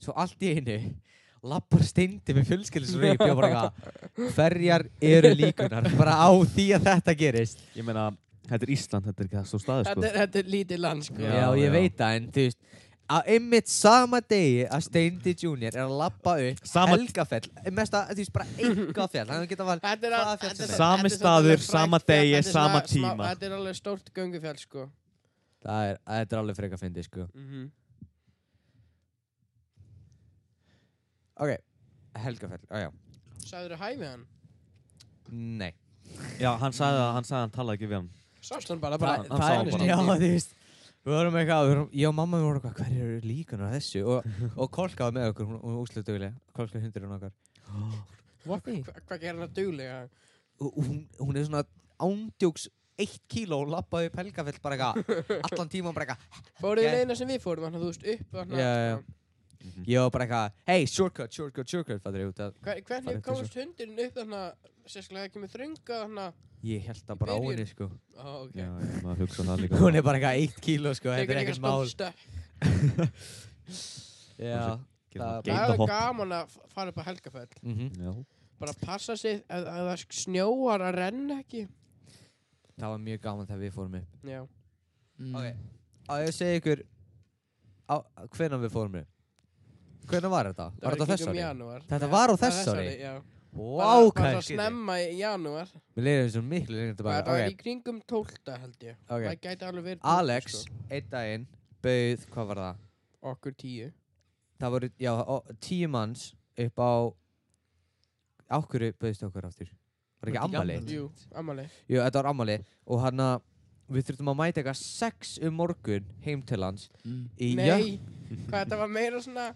Speaker 1: svo allt í einu lappar steindi með fjölskyldsreip og bara eitthvað, ferjar eru líkunar bara á því að þetta gerist
Speaker 2: ég meina, þetta er Ísland, þetta er ekki það stór staður, sko.
Speaker 3: Þetta er, þetta er lítið land sko
Speaker 1: Já, ég
Speaker 2: já.
Speaker 1: veit það, en þú veist á einmitt sama degi að Steindi Junior er að lappa upp
Speaker 2: Sama-
Speaker 1: Helgafell, mest að, þú veist, bara enga fjall hann geta valið
Speaker 3: Þetta er, al-
Speaker 1: hvaða fjall
Speaker 3: þetta
Speaker 1: sem
Speaker 3: er-
Speaker 1: er
Speaker 2: Sami
Speaker 3: þetta er
Speaker 2: staður,
Speaker 3: svolítið
Speaker 2: sama
Speaker 3: frægt fjall,
Speaker 2: degi,
Speaker 3: þetta er
Speaker 2: sama
Speaker 3: svona smá-
Speaker 2: tíma.
Speaker 3: Þetta er alveg stórt göngufjall sko
Speaker 1: Það er, þetta er alveg freka að fyndi, sko Ok, Helgafell, á já,
Speaker 3: Sæður þú hæfið hann?
Speaker 1: nei
Speaker 2: Já, hann sagði að hann, sagði að hann talaði ekki við hann.
Speaker 3: Sást hann bara
Speaker 1: Þa,
Speaker 3: bara
Speaker 2: hann sá
Speaker 1: Það er,
Speaker 2: bara.
Speaker 1: já, þú veist Við vorum eitthvað, við vorum, ég og mamma við vorum eitthvað, hverju eru líkunar að þessu? Og, og Kolka var með okkur, hún, hún úslega dugilega, Kolka hundurinn okkar. What the?
Speaker 3: Hva- Hvað gerir hann að duglega?
Speaker 1: og hún, hún er svona ándjóks eitt kíló og lappaði upp helgafell bara eitthvað allan tíma bara eitthvað
Speaker 3: Fóruðu
Speaker 1: Ég-
Speaker 3: yeah. leina sem við fórum, þannig að þú veist upp þarna,
Speaker 1: Já, já, já.
Speaker 3: sko.
Speaker 2: Mhm.
Speaker 1: ég var bara eitthvað hey shortcut shortcut shortcut fattur ég út að
Speaker 3: Hver-
Speaker 1: Farið
Speaker 3: Hvernig
Speaker 1: upp
Speaker 3: komast hundurinn upp þarna, sérstaklega ekki með þrönga þarna?
Speaker 1: ég held það bara á
Speaker 3: Byrjun.
Speaker 1: henni sko
Speaker 3: Ó, ok.
Speaker 2: Já, ég maður hugsa það líka.
Speaker 1: hún er bara eitthvað eitt kíló sko þetta
Speaker 3: Tekur
Speaker 1: er
Speaker 3: eitthvað
Speaker 1: ekkert mál
Speaker 3: stórt stökk.
Speaker 1: já
Speaker 2: Gerir
Speaker 1: það-
Speaker 2: það
Speaker 3: Það er
Speaker 2: geitahopp.
Speaker 3: gaman að f- fara upp á helgafell.
Speaker 1: mhm.
Speaker 2: Já.
Speaker 3: Bara passa sig að, að það snjóar að renna ekki.
Speaker 1: það var mjög gaman þegar við fórum upp
Speaker 3: Já.
Speaker 4: Mm.
Speaker 1: ok að ég segi ykkur á, hvenan við fórum upp hvenan var þetta? var þetta á þessu ári?
Speaker 3: Janúar.
Speaker 1: Þetta var á þessu ári?
Speaker 3: Já.
Speaker 1: Vá,
Speaker 3: Bara-
Speaker 1: hvað
Speaker 3: Bara
Speaker 1: er
Speaker 3: svo
Speaker 1: skýrði?
Speaker 3: snemma í janúar.
Speaker 1: Mér leiðir þessu miklu lengur
Speaker 3: Bara
Speaker 1: tilbaka.
Speaker 3: í kringum 12 held ég.
Speaker 1: Ok,
Speaker 3: Það
Speaker 1: ok.
Speaker 3: gæti alveg verið 12,
Speaker 1: Alex,
Speaker 3: sko.
Speaker 1: einn daginn, bauð, hvað var það?
Speaker 3: Okkur 10.
Speaker 1: Það voru, já, ó- tíu manns upp á Ákveður bauðist okkur aftur Var
Speaker 4: Var
Speaker 1: ekki
Speaker 4: þetta ekki
Speaker 1: ammali?
Speaker 4: afmæli?
Speaker 3: Jú, ammali.
Speaker 1: Jú, þetta var ammali Og hann að við þurftum að mæta eitthvað sex um morgun heim til hans í jörn-
Speaker 3: Mm. Nei, hvað þetta var meira svona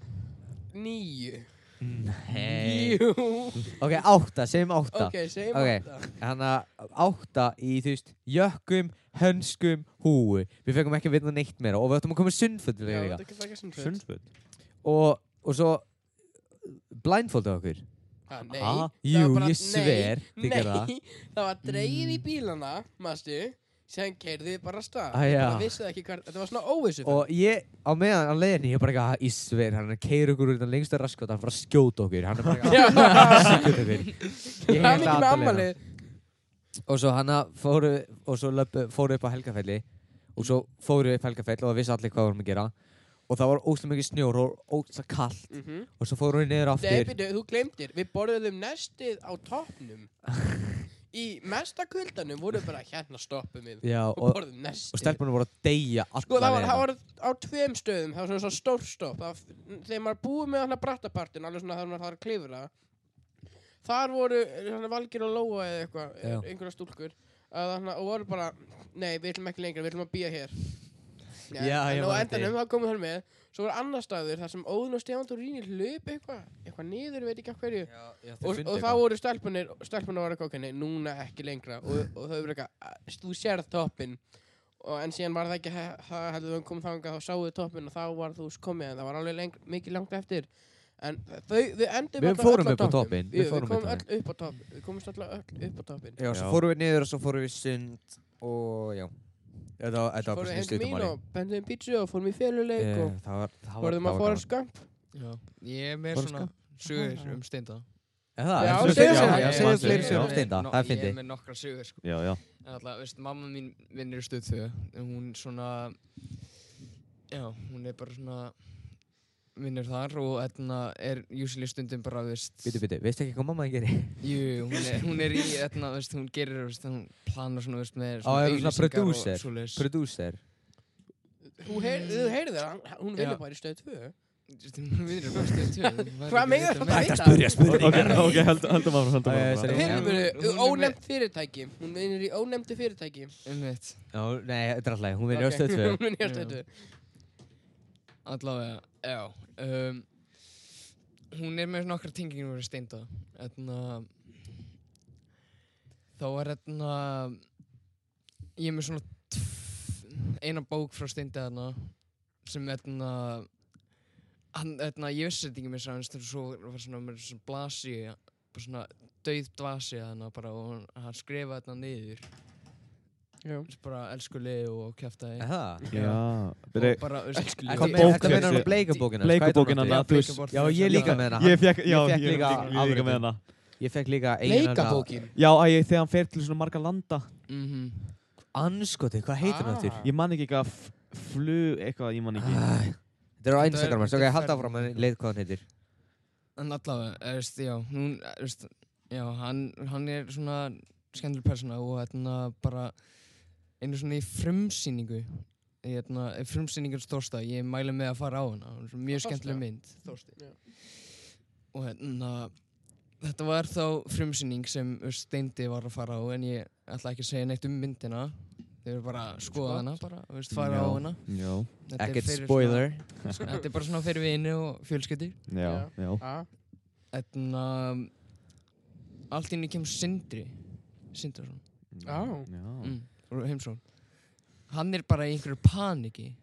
Speaker 3: nýju.
Speaker 1: Nei
Speaker 3: Jú,
Speaker 1: Ok, átta, segjum átta
Speaker 3: ok, segjum
Speaker 1: Ok.
Speaker 3: átta.
Speaker 1: Hann að átta í, þú veist, jökkum, hönskum, húu Við fengum ekki að vinna neitt meira Og við ættum að koma
Speaker 3: Já,
Speaker 1: sunnföldilega
Speaker 3: þetta er ekki svona fyrst.
Speaker 2: Sundföt.
Speaker 1: og, og svo blindfolda okkur
Speaker 3: Ha, nei,
Speaker 1: Ha?
Speaker 3: það
Speaker 1: Jú,
Speaker 3: var bara-
Speaker 1: ég sver,
Speaker 3: Nei,
Speaker 1: þið gerðu það. Mm.
Speaker 3: nei, það var dreigir í bílana, maðurstu, sem kerði bara af stað.
Speaker 1: Ah,
Speaker 3: Ég
Speaker 1: já.
Speaker 3: bara vissi það ekki hvað, þetta var svona óvissu.
Speaker 1: og ég, á meðan á leiðinni, ég bara eitthvað í sver, hann er að keira okkur út á lengsta raskot, hann er bara að skjóta okkur, hann er bara
Speaker 3: Já.
Speaker 1: að skjóta okkur. Ég
Speaker 3: það er
Speaker 1: held að alla
Speaker 3: mikið með
Speaker 1: leiðina.
Speaker 3: ammalið.
Speaker 1: og svo hana fóru og svo löpu, fóru upp á Helgafelli og svo fóru upp Helgafell og það vissi allir hvað vorum að gera og það var óslega mikið snjór og óslega kallt
Speaker 3: Mm
Speaker 1: og svo fóru við niður
Speaker 3: Nei,
Speaker 1: aftur
Speaker 3: byrju, þú glemtir, við borðum nestið á toppnum Í mesta kuldanum voru bara hérna stoppum við
Speaker 1: Já,
Speaker 3: og,
Speaker 1: og,
Speaker 3: borðum nestið
Speaker 1: og stelpunum voru að deyja allar
Speaker 3: Sko, það var,
Speaker 1: leiðina.
Speaker 3: það var á tveim stöðum, það var svona svona stór stopp það, Þegar maður búið með hana brattapartin, alveg svona þegar maður þarf að klifra Þar voru svona valgir og lóa eða eitthvað,
Speaker 1: Já.
Speaker 3: einhverja stúlkur að þarna, Og voru bara, nei, við ætlum ekki lengra, við ætlum að býja hér Nei,
Speaker 1: Já, ég
Speaker 3: En á
Speaker 1: man eftir
Speaker 3: endanum þá komum þar með Svo voru annar staður þar sem Óðun og Stefán Tórini löp eitthvað, eitthvað niður, veit ekki af hverju og, og þá voru stelpunir stelpunir var eitthvað, ok, nei, núna ekki lengra og, og þau voru eitthvað, "Að, þú sérð toppin og en síðan var það ekki he- það hefðu þau komið þangað, þá sáðu toppin og þá var þú komið, en það var alveg leng, mikið langt eftir en þau, við endum
Speaker 1: Við
Speaker 3: allar
Speaker 1: fórum
Speaker 3: öll á
Speaker 1: upp á
Speaker 3: toppnum.
Speaker 1: toppinn, við
Speaker 3: Jú, við
Speaker 1: fórum
Speaker 3: komum
Speaker 1: upp á
Speaker 3: öll upp á toppin við komumst öll öll upp á toppin
Speaker 1: Já, svo
Speaker 2: Já.
Speaker 1: fóru við niður og svo fóru við í sund og já Þetta var, þetta var
Speaker 3: fórum
Speaker 1: bara svona
Speaker 3: heim til mín
Speaker 1: stutumáli
Speaker 3: og bendum pítsu og fórum í féluleik og
Speaker 1: Eh, Það var, það var,
Speaker 3: fórum
Speaker 1: það var
Speaker 3: að fóra
Speaker 1: gaman
Speaker 3: skamp
Speaker 4: Já. Ég er með
Speaker 1: Voru
Speaker 4: svona sögur um steinda.
Speaker 1: Er það?
Speaker 3: Já,
Speaker 1: Er það-
Speaker 3: segðu sögur,
Speaker 1: já,
Speaker 3: segðu
Speaker 1: segðu
Speaker 2: sögur.
Speaker 1: fleiri
Speaker 2: Já.
Speaker 1: sögur um Steinda, það er
Speaker 4: Ég
Speaker 1: fyndið
Speaker 4: er með nokkra sögur, sko.
Speaker 2: Já, já.
Speaker 4: En alltaf, veist, mamma mín vinnir í stöð 2. Hún svona, já, hún er bara svona, vinnur þar og hérna er usually stundum bara, veist,
Speaker 1: Bitu, bitu, veistu ekki hvað mamma gerir?
Speaker 4: jú, jú, hún er, hún er í, hérna, veist, hún gerir, veist, hún planar svona, veist, með
Speaker 1: er hún svona
Speaker 4: auglýsingar
Speaker 1: producer?
Speaker 4: og svoleiðis.
Speaker 1: Producer
Speaker 3: þú heyr- þú heyrðir það, hún
Speaker 4: Já.
Speaker 3: vinnur bara í stöð 2
Speaker 4: Veist, Hún vinnur bara í stöð 2.
Speaker 3: Hvað meira þetta
Speaker 4: með?
Speaker 3: Hætt að spyrja
Speaker 2: Ok, ok, höldum höldum áfram, höldum
Speaker 1: Æ,
Speaker 2: áfram.
Speaker 1: sorry.
Speaker 3: Fyrir
Speaker 4: hún-
Speaker 3: mér,
Speaker 4: hún er
Speaker 3: ónefnd fyrirtæki Hún vinnur í ónefndu fyrirtæki
Speaker 4: Einmitt.
Speaker 1: Já, nei, þetta er alltaf, hún vinnur okay. á stöð 2
Speaker 3: Hún vinnur í stöð 2
Speaker 4: Allavega, já um, Hún er með nokkra tengingum verið steinda Þarna hérna, Þá er þarna Ég er með svona tf- eina bók frá steinda þarna sem þarna hann, þarna, ég vissi þetta ekki með þess að svo var svona með svona blasi bara svona dauð blasi þarna bara og hann skrifaði þarna niður
Speaker 3: Já.
Speaker 4: bara elsku liði og kæftaði
Speaker 1: Er það?
Speaker 2: Já,
Speaker 4: og
Speaker 2: byrju,
Speaker 4: bara elsku
Speaker 2: Hvað
Speaker 1: Ertu- ertu
Speaker 2: bók
Speaker 1: að
Speaker 2: er
Speaker 1: meina hann
Speaker 2: þessi?
Speaker 1: bleikabókina? Hvað heitir
Speaker 2: Bleikabókina,
Speaker 1: hún aftur?
Speaker 2: þú veist-
Speaker 1: Já, ég er líka með hana
Speaker 2: ég fekk, já,
Speaker 1: Ég fékk
Speaker 2: ég
Speaker 1: líka
Speaker 2: ég líka með
Speaker 1: afritun.
Speaker 2: hana.
Speaker 1: Ég fekk líka einu
Speaker 3: Leikabókin
Speaker 2: Já, æ, ég- þegar hann fer til svona marga landa,
Speaker 4: mm -hmm.
Speaker 1: Anskoti, hvað heitir hann
Speaker 3: Ah.
Speaker 1: aftur?
Speaker 2: ég man ekki eitthvað f- flu, eitthvað, ég man ekki.
Speaker 1: Æ, Þetta er á
Speaker 4: Þetta er-
Speaker 1: Instagram, hans. ok,
Speaker 4: þetta er
Speaker 1: halda
Speaker 4: ferð.
Speaker 1: áfram að leið hvað hann heitir
Speaker 4: En allavega, eða, veist, já, hún, eða, veist, já, hann, hann er svona skemmtileg persóna og hérna bara einu svona í frumsýningu í hérna, frumsýningar stórsta, ég mæli með að fara á hana, hún er svona mjög
Speaker 3: Á Þorsta?
Speaker 4: skemmtileg mynd
Speaker 3: Já.
Speaker 4: og hérna þetta var þá frumsýning sem þú veist, Steindi var að fara á en ég ætla ekki að segja neitt um myndina þau eru bara að skoða
Speaker 3: Skott.
Speaker 4: hana bara, þú veist, fara á
Speaker 2: Já.
Speaker 4: hana
Speaker 2: Já,
Speaker 4: Þetta er
Speaker 1: Ekkert
Speaker 4: fyrir
Speaker 1: spoiler
Speaker 4: svona, þetta er bara svona fyrir vini og fjölskyldi
Speaker 2: já, já.
Speaker 3: Ah,
Speaker 4: Þannig allt í henni kemur Sindri Sindrason
Speaker 2: Já.
Speaker 3: Á.
Speaker 4: mm. frá heimsón Hann er bara í einhverju paniki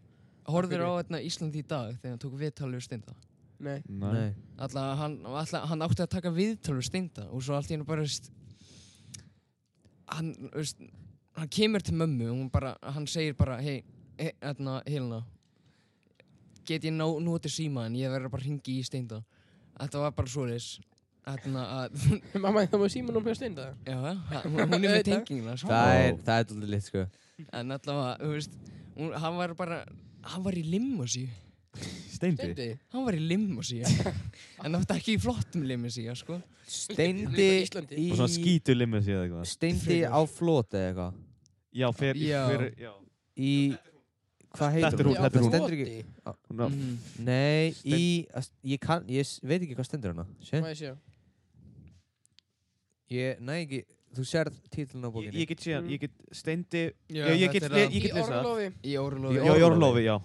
Speaker 4: Horður á þarna Ísland í dag þegar hann tók viðtal við Steinda
Speaker 3: Nei
Speaker 2: Nei.
Speaker 1: Nei.
Speaker 4: Alla, hann, alla, hann átti að taka viðtal við Steinda og svo allt í henni bara veist, hann, veist, hann kemur til mömmu og hún bara, hann segir bara hei, he, þarna, Helena get ég nó, notið síma en ég verður bara að ringi í Steinda Þetta var bara svoleiðis Þarna að
Speaker 3: Mamma, það má síma nú pljóðst einda
Speaker 4: Já, ha- hún hún er með
Speaker 3: Auðvitað.
Speaker 4: tenginguna sko.
Speaker 1: Það er, það er alltaf lit sko
Speaker 4: En allavega, þú veist hún, Hann var bara, hann var í limosí
Speaker 2: Steindi.
Speaker 3: Steindi
Speaker 4: Hann var í limosí En það var ekki í flottum limosí, sko
Speaker 1: Steindi
Speaker 3: Líka Íslandi.
Speaker 1: í
Speaker 2: Og svona skítur limmið séð eitthvað.
Speaker 1: Steindi á flót eða eitthvað
Speaker 2: Já, fer,
Speaker 4: Já.
Speaker 2: fer, já.
Speaker 1: Í Hvað heitir
Speaker 2: Þetta er hún,
Speaker 1: Það
Speaker 2: þetta er hún.
Speaker 1: stendur ekki
Speaker 2: Hún er-
Speaker 4: Mhm.
Speaker 1: Nei, í Ég kann, ég s- veit ekki hvað stendur hana Sjö?
Speaker 3: Má ég sjá
Speaker 1: Ég, nei ekki Þú sérð títlun á
Speaker 2: Ég,
Speaker 1: bókinni
Speaker 2: ég get síðan,
Speaker 3: Mm.
Speaker 2: ég get Steindi,
Speaker 4: Já,
Speaker 2: ég, ég get,
Speaker 4: þetta
Speaker 2: ég
Speaker 4: er að-
Speaker 2: get
Speaker 3: Í
Speaker 2: lesa.
Speaker 3: orlofi
Speaker 4: Í
Speaker 1: Í
Speaker 4: orlofi
Speaker 2: Já, í orlofi,
Speaker 1: orlofi,
Speaker 2: já.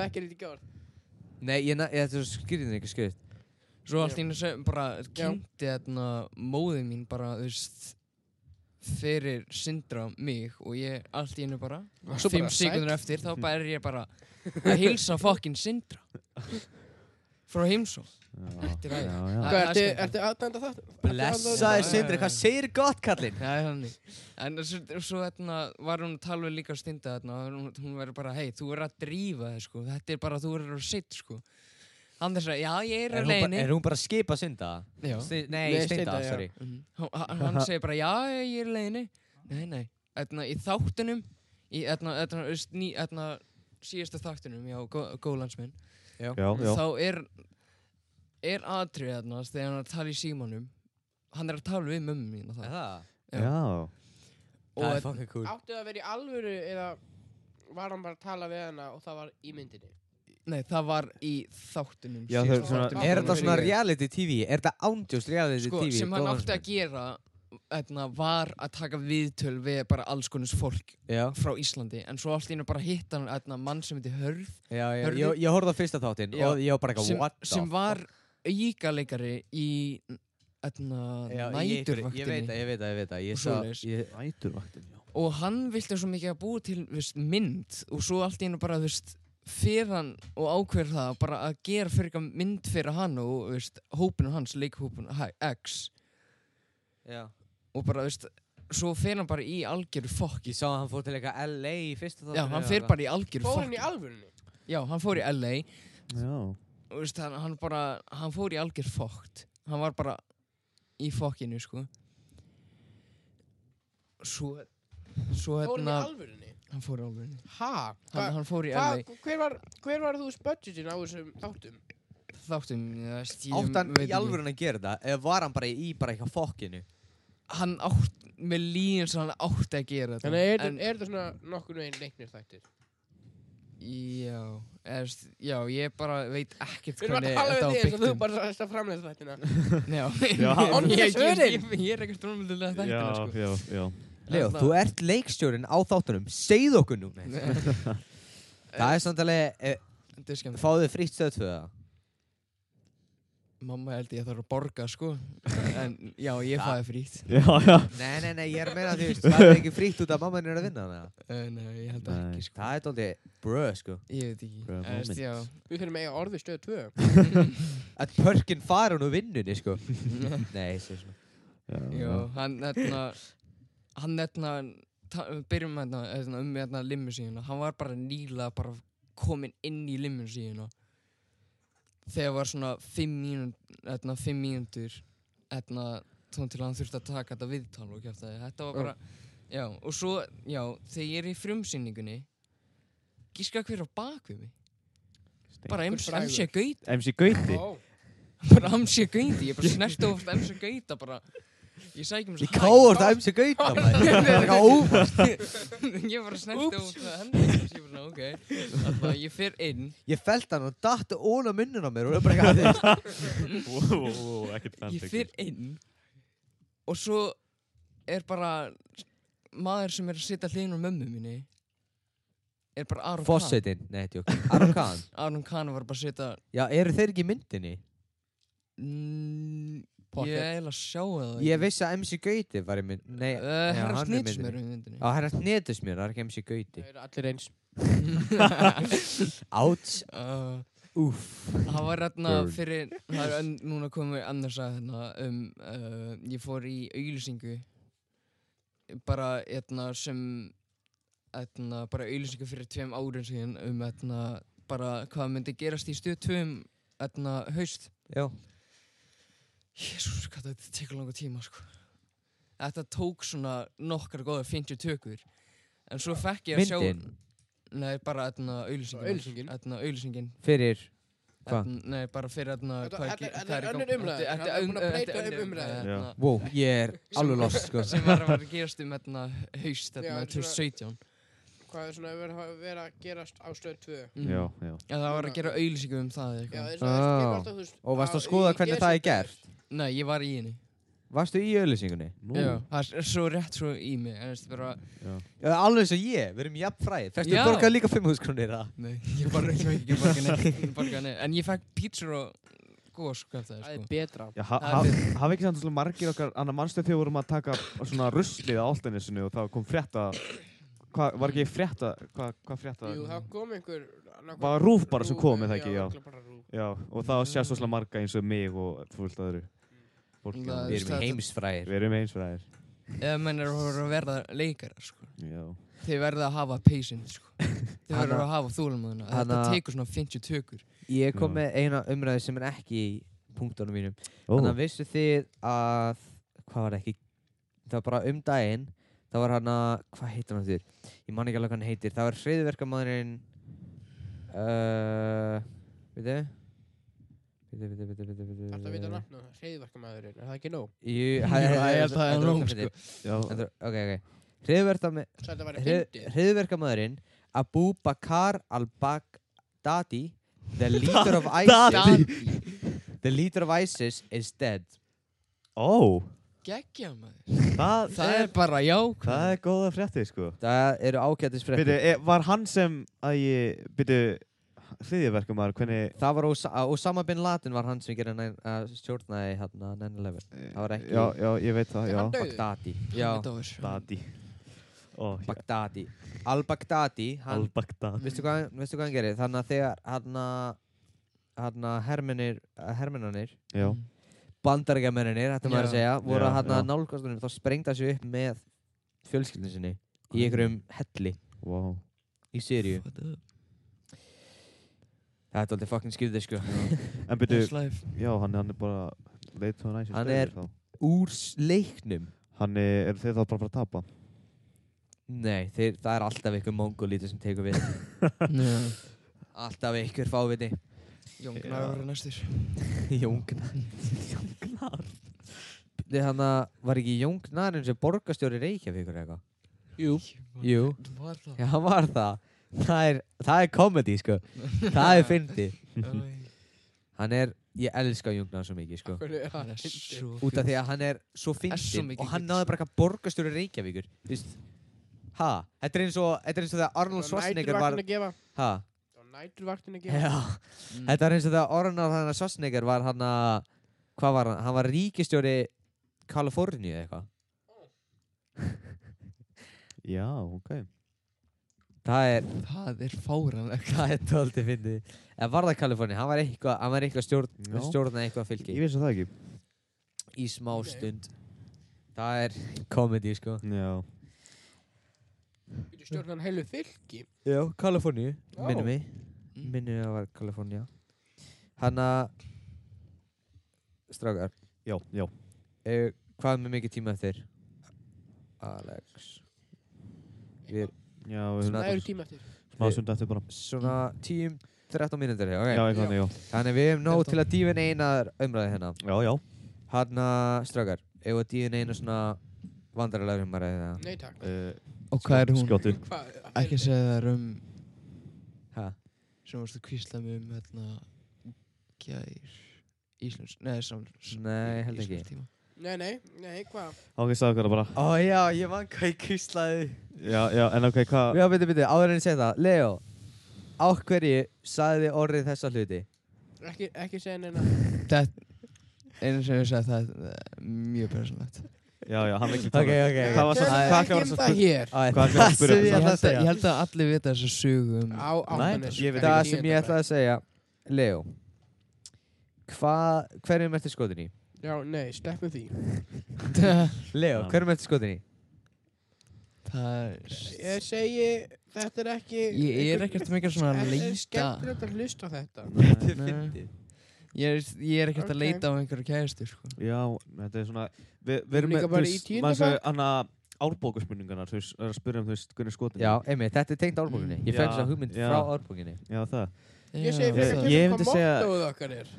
Speaker 3: Þekkir þetta ekki orð
Speaker 1: Nei, ég, na- ég þetta er svo skrýtin ekki skrýt
Speaker 4: Svo allt í einu sem bara
Speaker 3: Já.
Speaker 4: kynnti þarna móðið mín bara, þú veist fyrir syndra mig og ég allt í einu bara
Speaker 3: Svo bara,
Speaker 4: fimm sekundur eftir þá bara er ég bara að hilsa fokkin syndra frá heimsó
Speaker 2: Þetta
Speaker 4: er
Speaker 2: Já, já.
Speaker 3: Hvað,
Speaker 4: Það-
Speaker 3: ertu,
Speaker 4: það er
Speaker 3: ertu aðdænda það?
Speaker 1: Blessaði
Speaker 4: Nei.
Speaker 1: Sindri, hvað segir gott kallinn?
Speaker 4: Það er hannig. En svo, svo þarna, var hún að tala við líka stinda þarna og hún, hún verður bara, hei, þú verður að drífa þig, sko. Þetta er bara, þú verður að sitt, sko. Hann þess að, já, ég er á
Speaker 1: Er hún, bara,
Speaker 4: leiðinni.
Speaker 1: er hún bara skipa synda?
Speaker 4: Já.
Speaker 1: Sti, nei,
Speaker 3: Nei,
Speaker 1: steinda,
Speaker 3: Steinda, já.
Speaker 1: sorry
Speaker 4: Mhm. Hó- ha- Hann segir bara, já, ég er í leiðinni. Nei, nei. Þarna í þáttunum, í þarna, þarna, þú veist, ný- þarna síðasta þáttunum, já, gó- góð landsmenn.
Speaker 2: já, já,
Speaker 4: Þá er, er atrið þarna, þegar hann er að tala í símanum. Hann er að tala við mömmu mína
Speaker 1: Er
Speaker 4: það.
Speaker 1: Það,
Speaker 4: Já.
Speaker 2: já.
Speaker 4: Og
Speaker 1: það
Speaker 4: þarna-
Speaker 1: er fucking cool
Speaker 3: Áttu það að vera í alvöru eða var hann bara að tala við hana og það var í myndinni?
Speaker 4: Nei, það var í þáttunum
Speaker 2: Já,
Speaker 4: síðasta
Speaker 2: þau- svona-
Speaker 4: þáttunum.
Speaker 1: Er þetta svona
Speaker 4: Sko,
Speaker 1: reality TV? Er þetta ándjóst reality
Speaker 4: sko,
Speaker 1: TV?
Speaker 4: sem hann
Speaker 1: Góðan
Speaker 4: átti að
Speaker 1: sem-
Speaker 4: gera eitna, var að taka viðtöl við bara alls konus fólk
Speaker 1: Já,
Speaker 4: frá Íslandi en svo allt í einu bara hitt hann eitna, mann sem heiti Hörð
Speaker 1: já, já,
Speaker 4: Hörðu-
Speaker 1: ég, ég horfði á fyrsta þáttinn
Speaker 4: Já.
Speaker 1: og ég var bara eitthvað,
Speaker 4: sem,
Speaker 1: what the
Speaker 4: sem var aukaleikari í eitna,
Speaker 1: Já, ég- Ég veit
Speaker 4: næturvaktinni
Speaker 1: það, ég veit það, ég veit það
Speaker 4: Og
Speaker 1: Ég sá,
Speaker 4: svoleiðis.
Speaker 1: ég,
Speaker 2: Næturvaktin, já.
Speaker 4: og hann vilti svo mikið að búa til viðst, mynd og svo allt í einu bara viðst, fyrir hann og ákveður það bara að gera fyrir eitthvað mynd fyrir hann og viðst, hópinu hans, leikhópinu hæ, X
Speaker 1: já.
Speaker 4: og bara, veist, svo fer hann bara í algjöru fokki
Speaker 1: ég sá að hann fór til eitthvað LA í fyrsta þáttinn
Speaker 4: Já, hann fer bara í algjöru
Speaker 3: Fór hann
Speaker 4: fokki
Speaker 3: í alvörunni?
Speaker 4: Já, hann fór í LA
Speaker 2: Já,
Speaker 4: og veist, hann, hann bara, hann fór í algjöru fokkt Hann var bara í fokkinu, sko Svo, svo
Speaker 3: Fór hann í
Speaker 4: hérna
Speaker 3: alvörunni?
Speaker 4: Hann fór í alvörunni
Speaker 3: Ha?
Speaker 4: Hann,
Speaker 3: Hva,
Speaker 4: hann fór í
Speaker 3: hva,
Speaker 4: LA
Speaker 3: hver, var, hver var þú budgetin á þessum þáttum?
Speaker 4: Þáttum, ég veist, ég
Speaker 1: Átt hann
Speaker 4: veit
Speaker 1: í
Speaker 4: ekki.
Speaker 1: alvörun að gera þetta? Eða var hann bara í bara eitthvað fokkinu?
Speaker 4: Hann átt, með líðin sem hann átti að gera þetta
Speaker 3: Þannig er,
Speaker 4: En-
Speaker 3: en, er þetta svona nokkur veginn leiknir þættir?
Speaker 4: Já, eða, veist, já, ég bara veit ekkert
Speaker 3: Við erum að
Speaker 4: hvernig
Speaker 3: tala
Speaker 4: þetta
Speaker 3: við þig
Speaker 4: var
Speaker 3: eins
Speaker 4: byggt
Speaker 3: og þú
Speaker 4: um
Speaker 3: bara sagðist að framlega þættina.
Speaker 4: Já,
Speaker 2: Já,
Speaker 4: ég,
Speaker 3: honest
Speaker 4: ég, ég,
Speaker 3: svörin.
Speaker 4: ég, ég er ekkert rómöldulega
Speaker 2: já,
Speaker 4: þættina sko.
Speaker 2: já, já.
Speaker 1: Leo,
Speaker 4: Þarna-
Speaker 1: þú ert leikstjórin á þáttunum Segð okkur nú Nei. Það er samt alveg eh,
Speaker 4: Þetta er skemmt
Speaker 1: Fáðu þið frítt stöð tvöða
Speaker 4: Mamma held ég að það er að borga sko En já, ég
Speaker 1: Það-
Speaker 4: fæði frýtt
Speaker 2: Já, já.
Speaker 1: Nei, nei, nei, ég er að meina þú veist Það er ekki frítt út af mamman er að vinna hana
Speaker 4: uh, Nei, ég held
Speaker 2: Nei.
Speaker 4: ekki sko
Speaker 1: Það er dóldi bröð, sko
Speaker 4: Ég veit ekki
Speaker 2: Bra
Speaker 4: Eða, veist,
Speaker 2: moment.
Speaker 4: já.
Speaker 3: Við þurfum að eiga orðið stöðu tvö.
Speaker 1: Að pörkin fara hún úr vinnunni, sko Nei, ég sé svona
Speaker 4: já, hann etna Hann etna Byrjum með hérna hérna, um hérna limmusíðuna Hann var bara nýla bara komin inn í limmusíðuna Þegar var svona fimm mínútur Etna fimm mínútur Etna Tón til að hann þurfti að taka þetta viðtal og kjátt Þetta var bara Já, og svo, já, þegar ég er í frumsýningunni Gíska hver á bak við mig Bara
Speaker 3: Einhver frægur.
Speaker 4: MC Gauti
Speaker 2: MC Gauti.
Speaker 3: Ó,
Speaker 4: Bara MC Gauti, ég bara snerti ofast MC Gauta bara Ég sækjum svo
Speaker 1: Ég káður það um sig gauta, maður Það er eitthvað óvart
Speaker 4: Ég bara snerti ofast henni Ég bara, svona, ok Þannig að ég fer inn
Speaker 1: Ég felt hann og datt óna munnun á mér og er bara eitthvað að þeir
Speaker 2: Wow, ekkert
Speaker 4: Ég fer inn Og svo er bara Maður sem er að sitja hliðin á mömmu minni Er bara Aron Kahn
Speaker 1: Fossetin, nei, tjók Aron Kahn
Speaker 4: Aron Kahn var bara að sitja
Speaker 1: Já, eru þeir ekki í myndinni?
Speaker 4: mm, Ég
Speaker 3: Pocket.
Speaker 4: er eiginlega að sjá það
Speaker 1: Ég vissi að MC Gauti var í mynd Nei,
Speaker 4: Uh,
Speaker 1: já,
Speaker 4: herra
Speaker 1: hann er í
Speaker 4: snitsmjör
Speaker 1: myndinni.
Speaker 4: í myndinni
Speaker 1: Já, hérna hnetus mér, það er ekki MC Gauti
Speaker 3: það eru allir eins.
Speaker 1: Ah. Áts,
Speaker 4: uh,
Speaker 1: úff
Speaker 4: Það var hérna
Speaker 2: Burn.
Speaker 4: fyrir, það er enn, núna komið annars að hérna um, uh, ég fór í auðlýsingu, bara hérna sem, hérna bara auðlýsingu fyrir tveim árum síðan um hérna bara hvað myndi gerast í stöð tveim, hérna haust.
Speaker 1: Já,
Speaker 4: Jésús, hvað þetta tekur langa tíma, sko. Þetta tók svona nokkar góða 50 tökur, en svo fekk ég að sjá,
Speaker 1: myndin
Speaker 4: nei bara hérna auðlýsingin,
Speaker 3: Auglýsingin?
Speaker 4: hérna auðlýsingin
Speaker 1: fyrir Hva?
Speaker 4: Þarna- Nei, bara fyrir þarna
Speaker 3: Þetta-
Speaker 4: hvað
Speaker 3: þetta-
Speaker 4: ge-
Speaker 3: þetta
Speaker 4: hvað
Speaker 3: er
Speaker 4: í gangi.
Speaker 3: önnur umræða.
Speaker 4: Þetta-
Speaker 3: Hann er búinn að
Speaker 4: þetta-
Speaker 3: breyta
Speaker 4: þetta
Speaker 3: um
Speaker 4: önnur
Speaker 3: umræðu.
Speaker 4: umræða, þarna,
Speaker 1: Wow, ég er alveg lost, sko
Speaker 4: sem var að vera að gerast um þarna,
Speaker 3: Já,
Speaker 4: haust þarna,
Speaker 3: svona-
Speaker 4: 2017
Speaker 3: Hvað er svona að vera, vera að gerast á stöðu tvö?
Speaker 4: Mm.
Speaker 2: Já, já.
Speaker 4: En það var að gera auðlýsingum um það eða
Speaker 3: Mm-hmm. Já,
Speaker 4: eitthvað
Speaker 3: eins
Speaker 1: Ó.
Speaker 3: og það er alltaf, þú veist.
Speaker 1: Og varstu
Speaker 3: á-
Speaker 1: að skoða
Speaker 3: í
Speaker 1: hvernig það er
Speaker 3: Geðsjúkdómur.
Speaker 1: gert?
Speaker 4: Nei, ég var í henni
Speaker 1: Varstu í auðlýsingunni?
Speaker 2: Nú.
Speaker 4: Já, það er svo rétt svo í mig En veist bara
Speaker 1: Já, alveg eins og ég, við erum jafn fræðið Festu
Speaker 4: Já.
Speaker 1: borgað líka 500 krónir það
Speaker 4: Nei, ég bara ég veit ekki að borga neitt, ég borga neitt En ég fekk pítsur og gós hvað það
Speaker 3: Það er
Speaker 4: er sko
Speaker 3: betra.
Speaker 2: Já, ha,
Speaker 4: Það
Speaker 2: ha,
Speaker 4: er
Speaker 2: hafa ekki samt svolítið margir okkar annar mannstu þegar við vorum að taka svona ruslið á áltanisinu og það kom frétta hvað, var ekki frétta hvað, hvað frétta
Speaker 3: Jú, það kom einhver... nokkur-
Speaker 2: Var RÚV bara sem
Speaker 3: RÚV,
Speaker 2: kom, er það ekki? Já.
Speaker 3: örugglega bara RÚV.
Speaker 2: já, og það sé svolítið marga eins og mig og fullt öðru fólk
Speaker 4: Það
Speaker 1: Við
Speaker 4: er-
Speaker 2: við
Speaker 1: erum
Speaker 4: Þetta-
Speaker 1: heimsfræðir
Speaker 2: erum eins fræðir
Speaker 4: Eða menn er að vera leikar sko
Speaker 2: já,
Speaker 4: þið verða að hafa patience sko. þið
Speaker 1: Hanna-
Speaker 4: verða að hafa þúlumöðuna þetta
Speaker 1: Hanna-
Speaker 4: tekur svona 50 tökur
Speaker 1: Ég kom
Speaker 2: Já.
Speaker 1: með eina umræði sem er ekki í punktunum mínum.
Speaker 2: Ó,
Speaker 1: Þannig að vissu þið að, hvað var það ekki, það var bara um daginn, það var hann að, hvað heitir hann þurr? Ég man ekki alveg hvað hann heitir. Það var hreiðverkamæðurinn, uh, veitu? Veitu, veitu, veitu, veitu, veitu.
Speaker 3: Þetta veit að nafna það, reyðverkamæðurinn, er það ekki nóg?
Speaker 1: Jú,
Speaker 4: Ég held að það er sko.
Speaker 1: þetta var
Speaker 4: nóg,
Speaker 1: fyndið.
Speaker 2: já,
Speaker 1: Þetta var- Ok, ok. Hreiðverkamæðurinn,
Speaker 3: Svo þetta væri fyndið.
Speaker 1: hriðverkamæðurinn Abu Bakar al-Baghdadi the leader of ISIS
Speaker 4: Dandi,
Speaker 1: the leader of ISIS is dead
Speaker 2: ó,
Speaker 4: geggja maður
Speaker 2: það,
Speaker 4: það
Speaker 2: er,
Speaker 4: er bara jákvæð
Speaker 2: það er góða frétti, sko.
Speaker 1: það eru ágætis
Speaker 2: Byrju,
Speaker 1: fréttir
Speaker 2: e, var hann sem að ég, byrju, hliðiverkumar, hvernig...
Speaker 1: það var Osa- að Osama bin Laden var hann sem gerði næn- að stjórnaði hérna 9-11 Það var ekki-
Speaker 2: Já, já, ég veit það,
Speaker 3: Er
Speaker 2: já.
Speaker 3: hann dauður?
Speaker 1: Baghdadi já,
Speaker 4: það
Speaker 2: Dadi. Ó, já,
Speaker 1: Baghdadi al-Baghdadi hann
Speaker 2: al-Baghdad.
Speaker 1: veistu hvað, hann- veistu hvað hann gerir þannig að þegar hann hann hermennir hermennanir
Speaker 2: Já,
Speaker 1: bandarækjamennir, þetta maður að
Speaker 4: Já.
Speaker 1: segja, voru
Speaker 2: Já,
Speaker 1: hann að
Speaker 2: já.
Speaker 1: nálgastunum, þá sprengta sér upp með fjölskyldinu sinni í einhverjum helli
Speaker 2: wow.
Speaker 1: í Sirju. Það er aldrei fucking skildið, sko.
Speaker 2: En byrju,
Speaker 4: er
Speaker 2: já, hann, hann er bara, leit hann aðeins.
Speaker 1: Hann er- Úr s- leiknum?
Speaker 2: Hann er, eru þeir þá bara að fara að tapa?
Speaker 1: Nei, þeir, það er alltaf ykkur mongolítið sem tekur við. alltaf ykkur fáviti.
Speaker 4: Jóngnar
Speaker 2: Já.
Speaker 4: var næstur
Speaker 1: Jóngnar. Jóngnar. Þannig að var ekki Jóngnar eins og borgarstjóri Reykjavíkur eða eitthvað?
Speaker 3: Jú.
Speaker 1: Jú.
Speaker 4: var það
Speaker 1: Já, hann var það. Það er, það er komedi, sko. Það er fyndið.
Speaker 4: Mhm.
Speaker 1: Hann er, ég elska Jóngnar svo mikið, sko.
Speaker 3: Hvernig er það
Speaker 4: Það er
Speaker 3: fyndið?
Speaker 4: svo
Speaker 1: út af því að hann er svo
Speaker 4: Er svo
Speaker 1: fyndin
Speaker 4: mikið
Speaker 1: og hann
Speaker 4: gull,
Speaker 1: náði
Speaker 4: sko.
Speaker 1: bara eitthvað borgarstjóri Reykjavíkur þú veist ha, þetta er eins og þetta er eins og þegar Arnold Schwarzenegger var
Speaker 3: Næturvaktin að gefa.
Speaker 1: ha,
Speaker 3: Það var næturvaktin að gefa.
Speaker 1: já,
Speaker 4: Mm,
Speaker 1: þetta er eins og þegar Arnold hann, Schwarzenegger var hann að hvað var hann, hann var ríkistjóri Kaliforníu eða eitthvað
Speaker 2: Já, ok.
Speaker 1: það er,
Speaker 4: það er fáranlegt
Speaker 1: það er tóldi fyndið en var það Kaliforníu, hann var eitthvað hann var eitthvað stjórn,
Speaker 2: Já.
Speaker 1: stjórna eitthvað
Speaker 2: Ég
Speaker 1: fylki
Speaker 2: vissi það ekki.
Speaker 1: í smá
Speaker 3: Ok.
Speaker 1: stund það er komedi sko
Speaker 2: Já.
Speaker 3: Býtu stjórnan heilu fylki.
Speaker 1: já, Kaliforníu,
Speaker 3: Já.
Speaker 1: minnum mig
Speaker 4: Mm.
Speaker 1: minnum við að það var Kalifornia hann að strákar
Speaker 2: Já, já.
Speaker 1: uh, hvað er með mikið tíma eftir Alex við erum
Speaker 2: Já, við höfum
Speaker 1: Svona-
Speaker 3: Það eru tíma eftir.
Speaker 2: smá sund eftir bara.
Speaker 1: svona 10-13 mínútur
Speaker 2: Já,
Speaker 1: okay.
Speaker 2: eitthvað, já.
Speaker 1: þannig við erum nóg til að dífa inn eina umræði hérna
Speaker 2: Já, já.
Speaker 1: hann að strákar ef að dífa inn eina svona vandrarlega umræði hérna
Speaker 3: Nei takk.
Speaker 2: Uh,
Speaker 4: og hvað er hún?
Speaker 2: Skjóttu.
Speaker 3: Hvað?
Speaker 4: ekki að segja það er um
Speaker 1: ha,
Speaker 4: sem varstu kvíslað mig um hérna gær Íslands, neða samlurs
Speaker 1: nei held ekki
Speaker 3: Nei, nei, nei, hvað?
Speaker 2: ok, sagði okkur það bara.
Speaker 1: ó já, ég man hvað ég kýslaði
Speaker 2: Já, já, en ok, hvað?
Speaker 1: já, byrju, byrju, áður en ég segi það Leo, á hverju sagði orðið þessa hluti?
Speaker 3: Ekki, ekki segja neina.
Speaker 4: þetta einu sem ég sagði það það er mjög persónlegt
Speaker 2: Já, já, hann ekki
Speaker 1: ok, ok, ok
Speaker 2: Hvað var svo-
Speaker 3: Tölum
Speaker 2: hvað- hvað
Speaker 3: ekki
Speaker 2: var
Speaker 3: um
Speaker 2: svo
Speaker 3: það hér.
Speaker 1: Æ,
Speaker 2: Hvað ætlarðu að spyrja?
Speaker 1: sem
Speaker 4: ég
Speaker 1: ég ætla að
Speaker 4: held, að, ég
Speaker 1: segja
Speaker 4: held að allir vita þess að sögu um
Speaker 3: Á
Speaker 2: Nei,
Speaker 3: áttanir.
Speaker 2: ég veit
Speaker 1: Það sem ég
Speaker 3: hérna.
Speaker 1: ætla að segja Leo Hvað, hverjum ertu skotin í?
Speaker 3: Já, nei, sleppum því.
Speaker 1: Leo,
Speaker 2: Já.
Speaker 1: hverjum ertu skotin í?
Speaker 4: það er
Speaker 3: Ég segi, þetta er ekki...
Speaker 4: ég er ekkert mikið svona að
Speaker 3: Þetta er
Speaker 4: leita
Speaker 3: skemmtilegt að hlusta á þetta.
Speaker 4: Nei, nei.
Speaker 1: Eh,
Speaker 4: ég er, ég er ekkert að
Speaker 3: Ok.
Speaker 4: leita á einhverju kæðistur sko.
Speaker 2: Já, þetta er svona Við vi erum
Speaker 3: Líka
Speaker 2: með,
Speaker 3: bara í
Speaker 2: veist,
Speaker 3: tíunda
Speaker 2: maður sagði hann að árbókuspurningarnar, þú veist, er að spyrja um, þú veist, hvernig skotin
Speaker 1: Já,
Speaker 2: er.
Speaker 1: einmitt, þetta er tengt árbúkinni Ég fekk
Speaker 2: Já,
Speaker 1: þess að hugmynd
Speaker 2: já.
Speaker 1: frá árbúkinni
Speaker 2: Já, það.
Speaker 3: Ég segi
Speaker 4: Já,
Speaker 3: fyrir
Speaker 4: það-
Speaker 2: Ég-
Speaker 3: að
Speaker 2: ég
Speaker 3: kemur
Speaker 2: myndi
Speaker 3: hvað
Speaker 2: segja-
Speaker 3: mottóð okkar er.